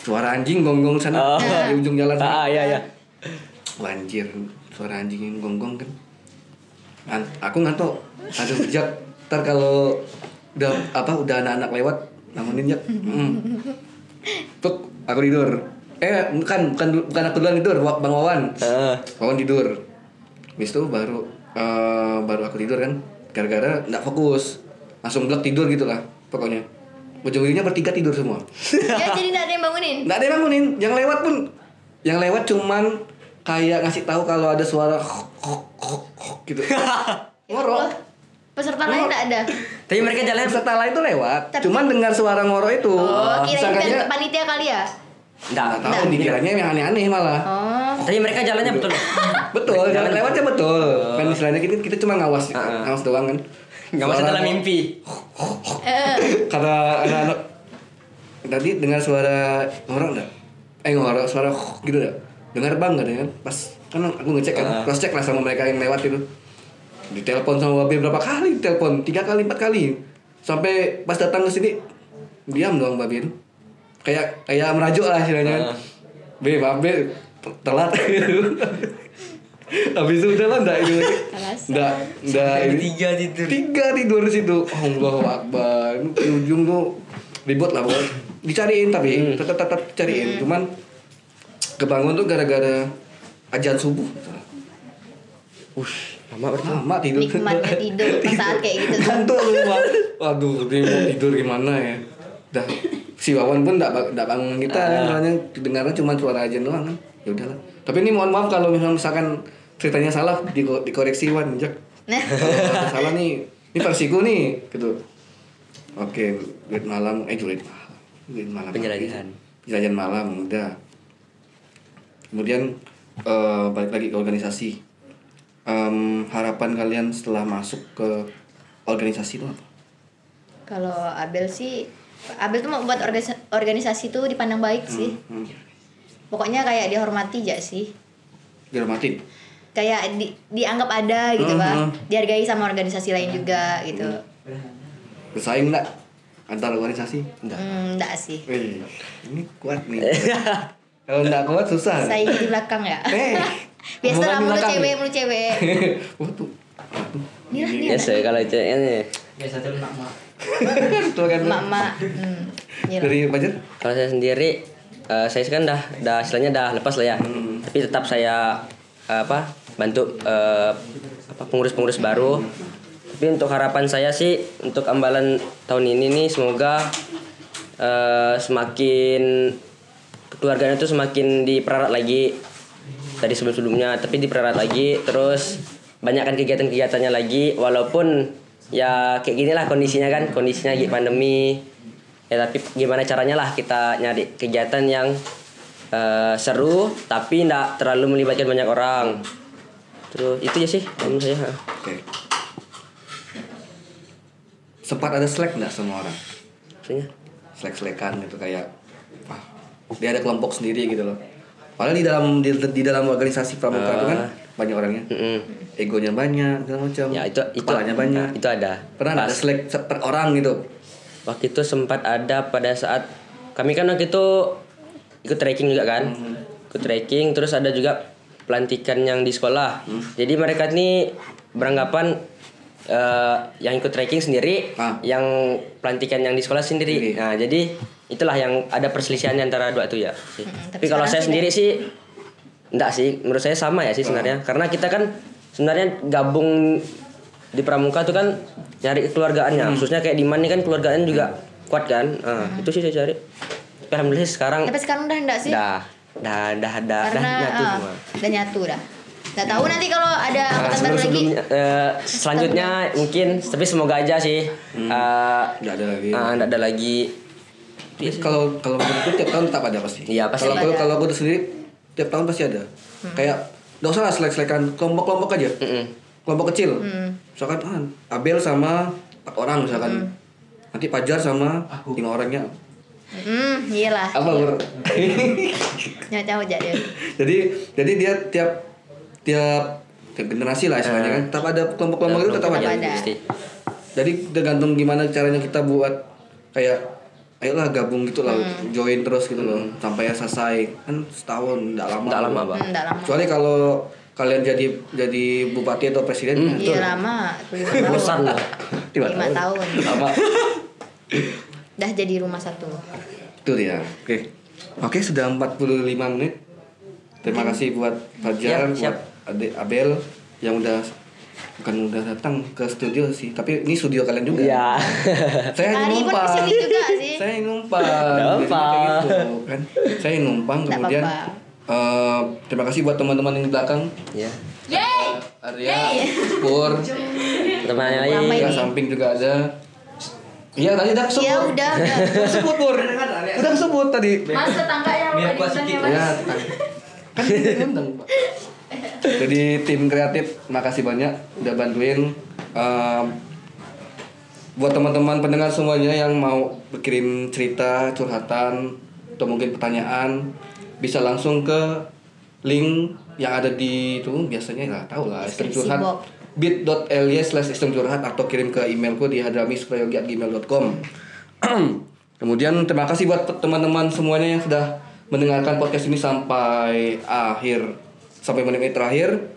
Speaker 1: suara anjing gonggong sana
Speaker 3: Oh.
Speaker 1: di ujung jalan sana.
Speaker 3: Ah, iya, iya.
Speaker 1: Wah, anjir suara anjing yang gonggong kan An- aku ngantuk aduh bijak ntar kalau udah apa udah anak-anak lewat namunin jak Mm. tuk aku tidur eh bukan bukan bukan aku duluan tidur Wa- bang wawan
Speaker 3: Heeh.
Speaker 1: Wawan tidur. Habis itu baru eh, baru aku tidur kan. Gara-gara nggak fokus. Langsung blek tidur gitu lah pokoknya. Ujung-ujungnya bertiga tidur semua.
Speaker 2: ya jadi nggak ada yang bangunin
Speaker 1: Nggak ada yang bangunin. Yang lewat pun yang lewat cuman kayak ngasih tahu kalau ada suara gitu. Ngorok.
Speaker 2: peserta lain nggak ada
Speaker 3: Tapi mereka jalan
Speaker 1: Peserta lain tuh lewat,
Speaker 2: Tapi-
Speaker 1: cuman dengar suara ngorok itu.
Speaker 2: oh kirain
Speaker 1: Sangkanya
Speaker 2: pen- panitia kali ya
Speaker 3: enggak.
Speaker 1: nggak tahu dikiranya yang aneh-aneh malah.
Speaker 2: oh
Speaker 3: Tapi mereka jalannya betul.
Speaker 1: Betul, jalan lewatnya betul. Kan istilahnya kita, kita cuma ngawas, ngawas doang kan.
Speaker 3: Enggak masuk
Speaker 1: Suara-
Speaker 3: dalam mimpi.
Speaker 2: Eh,
Speaker 1: Karena anak-anak tadi dengar suara ngorok enggak? Eh ngorok suara gitu enggak? Dengar bang enggak kan? Pas kan aku ngecek kan, cross check lah sama mereka yang lewat itu. Ditelepon sama babe berapa kali telepon? Tiga kali, empat kali. Sampai pas datang ke sini diam dong babe itu. Kayak kayak merajuk lah istilahnya. kan. Be, babe telat. Habis itu udah lah enggak ini lagi.
Speaker 2: Alasan.
Speaker 1: Enggak, enggak ini
Speaker 3: Tiga tidur.
Speaker 1: tiga tidur di situ Allah Akbar Ini di ujung tuh ribut lah pokoknya dicariin tapi tetap tetap cariin cuman kebangun tuh gara-gara ajan subuh Ush, lama berarti lama tidur.
Speaker 2: Nikmatnya ya, tidur, pas saat kayak gitu.
Speaker 1: Ngantuk semua. Waduh, ini mau tidur gimana ya? Dah si Wawan pun enggak bangun kita kan, soalnya dengarnya cuma suara ajan doang kan. Ya udahlah. Tapi ini mohon maaf kalau misalkan, misalkan ceritanya salah diko- dikoreksi Wan, Jak.
Speaker 2: nah
Speaker 1: Kalau ada salah nih ini versiku nih gitu oke duit malam eh duit malam duit malam
Speaker 3: Penjelajahan.
Speaker 1: penjelajahan malam udah kemudian eh, balik lagi ke organisasi Em, harapan kalian setelah masuk ke organisasi itu apa
Speaker 2: kalau Abel sih Abel tuh mau buat organisa- organisasi tuh dipandang baik sih
Speaker 1: hmm.
Speaker 2: pokoknya kayak dihormati aja sih
Speaker 1: dihormatin
Speaker 2: kayak di- dianggap ada gitu
Speaker 1: Mhm.
Speaker 2: pak dihargai sama organisasi lain juga gitu
Speaker 1: bersaing enggak antar organisasi enggak
Speaker 2: hmm, enggak sih
Speaker 1: eh, ini kuat nih kalau enggak kuat susah
Speaker 2: saya di belakang ya
Speaker 1: Eh, omongan
Speaker 2: biasa
Speaker 1: di
Speaker 2: lah mulu
Speaker 1: belakang.
Speaker 2: cewek mulu cewek
Speaker 1: Waduh.
Speaker 2: Inilah,
Speaker 1: Ini-
Speaker 2: inilah.
Speaker 3: Biasa kalau iya. ceweknya.
Speaker 5: Biasa tuh nak mak.
Speaker 1: Tuh kan.
Speaker 2: mak mak hmm, inilah.
Speaker 1: Dari Fajar?
Speaker 3: Kalau saya sendiri, eh, saya kan dah, dah istilahnya dah lepas lah ya. Tapi tetap saya eh, apa bantu eh, apa pengurus-pengurus baru. Tapi untuk harapan saya sih untuk ambalan tahun ini nih semoga eh, semakin keluarganya tuh semakin diperarat lagi tadi sebelum-sebelumnya tapi diperarat lagi terus banyakkan kegiatan-kegiatannya lagi walaupun ya kayak gini lah kondisinya kan kondisinya lagi pandemi ya tapi gimana caranya lah kita nyari kegiatan yang eh, seru tapi ndak terlalu melibatkan banyak orang terus itu ya sih menurut saya
Speaker 1: Oke. Sempat ada slack nggak semua orang?
Speaker 3: maksudnya
Speaker 1: Slack-slackan gitu kayak ah, dia ada kelompok sendiri gitu loh. Padahal di dalam di, di dalam organisasi pramuka itu kan banyak orangnya.
Speaker 3: Mm-mm.
Speaker 1: Egonya banyak, segala macam.
Speaker 3: Ah. Hmm. ya itu itu
Speaker 1: Kepalanya banyak.
Speaker 3: itu ada
Speaker 1: Pernah nggak ada slack se- per orang gitu?
Speaker 3: waktu itu sempat ada pada saat kami kan waktu itu ikut trekking juga kan ikut trekking terus ada juga pelantikan yang di sekolah jadi mereka ini beranggapan eh, yang ikut trekking sendiri
Speaker 1: Ah.
Speaker 3: yang pelantikan yang di sekolah sendiri
Speaker 1: Sendiri.
Speaker 3: nah jadi itulah yang ada perselisihan antara dua itu ya sih.
Speaker 2: Hmm, tapi
Speaker 3: tapi kalau saya
Speaker 2: sekarang sudah-
Speaker 3: sendiri sih enggak sih menurut saya sama ya sih sebenarnya karena kita kan sebenarnya gabung di pramuka tuh kan nyari keluargaannya khususnya kayak di mana kan keluargaan juga kuat kan Nah, itu sih saya cari Tapi alhamdulillah sekarang
Speaker 2: tapi sekarang udah enggak sih
Speaker 3: dah dah dah dah dah
Speaker 2: karena
Speaker 3: nyatu
Speaker 2: ah,
Speaker 3: semua
Speaker 2: udah nyatu dah nggak tahu nanti kalau ada angkatan baru
Speaker 3: sebelum
Speaker 2: lagi
Speaker 3: sebelumnya selanjutnya mungkin tapi semoga aja sih eh,
Speaker 1: Nggak ada lagi.
Speaker 3: ah, nggak ada lagi
Speaker 1: Kalau kalau menurutku tiap tahun tetap ada pasti.
Speaker 3: Iya, pasti
Speaker 1: Kalau kalau
Speaker 2: ada.
Speaker 1: kalau aku sendiri tiap tahun pasti ada. Kayak nggak usah lah selek-selekan kelompok-kelompok aja. Kelompok kecil.
Speaker 2: Hmm.
Speaker 1: Misalkan ah, Abel sama empat orang misalkan. Nanti Pajar sama lima orangnya.
Speaker 2: hmm iyalah
Speaker 1: Apa Bur?
Speaker 2: nyatu aja deh
Speaker 1: jadi jadi dia tiap tiap tiap generasi lah istilahnya kan. Tetap ada kelompok-kelompok
Speaker 3: Iya,
Speaker 1: itu tetap
Speaker 2: Tetap
Speaker 1: ada.
Speaker 2: ada.
Speaker 3: pasti
Speaker 1: Jadi tergantung gimana caranya kita buat kayak ayolah gabung gitu lah
Speaker 2: Hmm.
Speaker 1: join terus gitu loh sampai selesai kan setahun nggak lama
Speaker 3: Nggak lama, Bang.
Speaker 2: Hmm, nggak lama.
Speaker 1: kecuali kalau kalian jadi jadi bupati atau presiden nah,
Speaker 2: Iya lama. lima tahun.
Speaker 3: bosan lah
Speaker 1: lima
Speaker 2: Lima tahun.
Speaker 1: lama
Speaker 2: Dah jadi rumah satu.
Speaker 1: itu dia ya. oke oke sudah 45 menit terima kasih buat Fajar
Speaker 3: Hmm. Siap, siap.
Speaker 1: buat Ade Abel yang udah bukan udah datang ke studio sih tapi ini studio kalian juga
Speaker 3: ya
Speaker 1: saya hanya
Speaker 2: Ari pun
Speaker 1: numpang
Speaker 2: kesini juga sih.
Speaker 1: saya yang numpang
Speaker 3: Nggak
Speaker 1: Jadinya kayak
Speaker 3: apa.
Speaker 1: gitu, kan saya yang numpang
Speaker 2: Nggak
Speaker 1: kemudian
Speaker 2: apa-apa.
Speaker 1: eh, terima kasih buat teman-teman yang di belakang
Speaker 3: ya
Speaker 2: Yeay!
Speaker 1: Arya Pur
Speaker 3: temannya
Speaker 2: Ramai.
Speaker 3: lagi
Speaker 1: juga samping juga ada iya tadi udah
Speaker 2: Ya
Speaker 1: kesebut
Speaker 2: udah, udah.
Speaker 1: udah kesebut Pur udah kesebut tadi
Speaker 2: Mas tetangganya
Speaker 5: Biar
Speaker 2: yang
Speaker 5: kuat
Speaker 2: diundang ya
Speaker 5: sedikit.
Speaker 2: mas.
Speaker 1: ya kan dia ngundang, Pak. jadi tim kreatif makasih banyak udah bantuin Em, buat teman-teman pendengar semuanya yang mau berkirim cerita curhatan atau mungkin pertanyaan bisa langsung ke link yang ada di itu biasanya nggak tahu lah Istem
Speaker 2: Deskripsi
Speaker 1: curhat
Speaker 2: box.
Speaker 1: bit.ly slash Istem curhat atau kirim ke emailku di hadramisprayogi@gmail.com kemudian terima kasih buat teman-teman semuanya yang sudah mendengarkan podcast ini sampai akhir sampai menit terakhir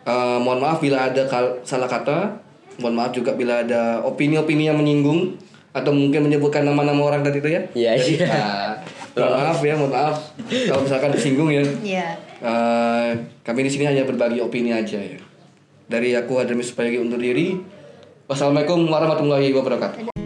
Speaker 1: Eh, mohon maaf bila ada kal- salah kata. Mohon maaf juga bila ada opini-opini yang menyinggung atau mungkin menyebutkan nama-nama orang tadi itu ya.
Speaker 3: Iya,
Speaker 1: Jadi,
Speaker 3: iya.
Speaker 1: ah, mohon maaf ya, mohon maaf kalau misalkan disinggung ya.
Speaker 2: Iya.
Speaker 1: Eh, kami di sini hanya berbagi opini aja ya. Dari aku Adamis Payagi undur diri. Wassalamualaikum warahmatullahi wabarakatuh.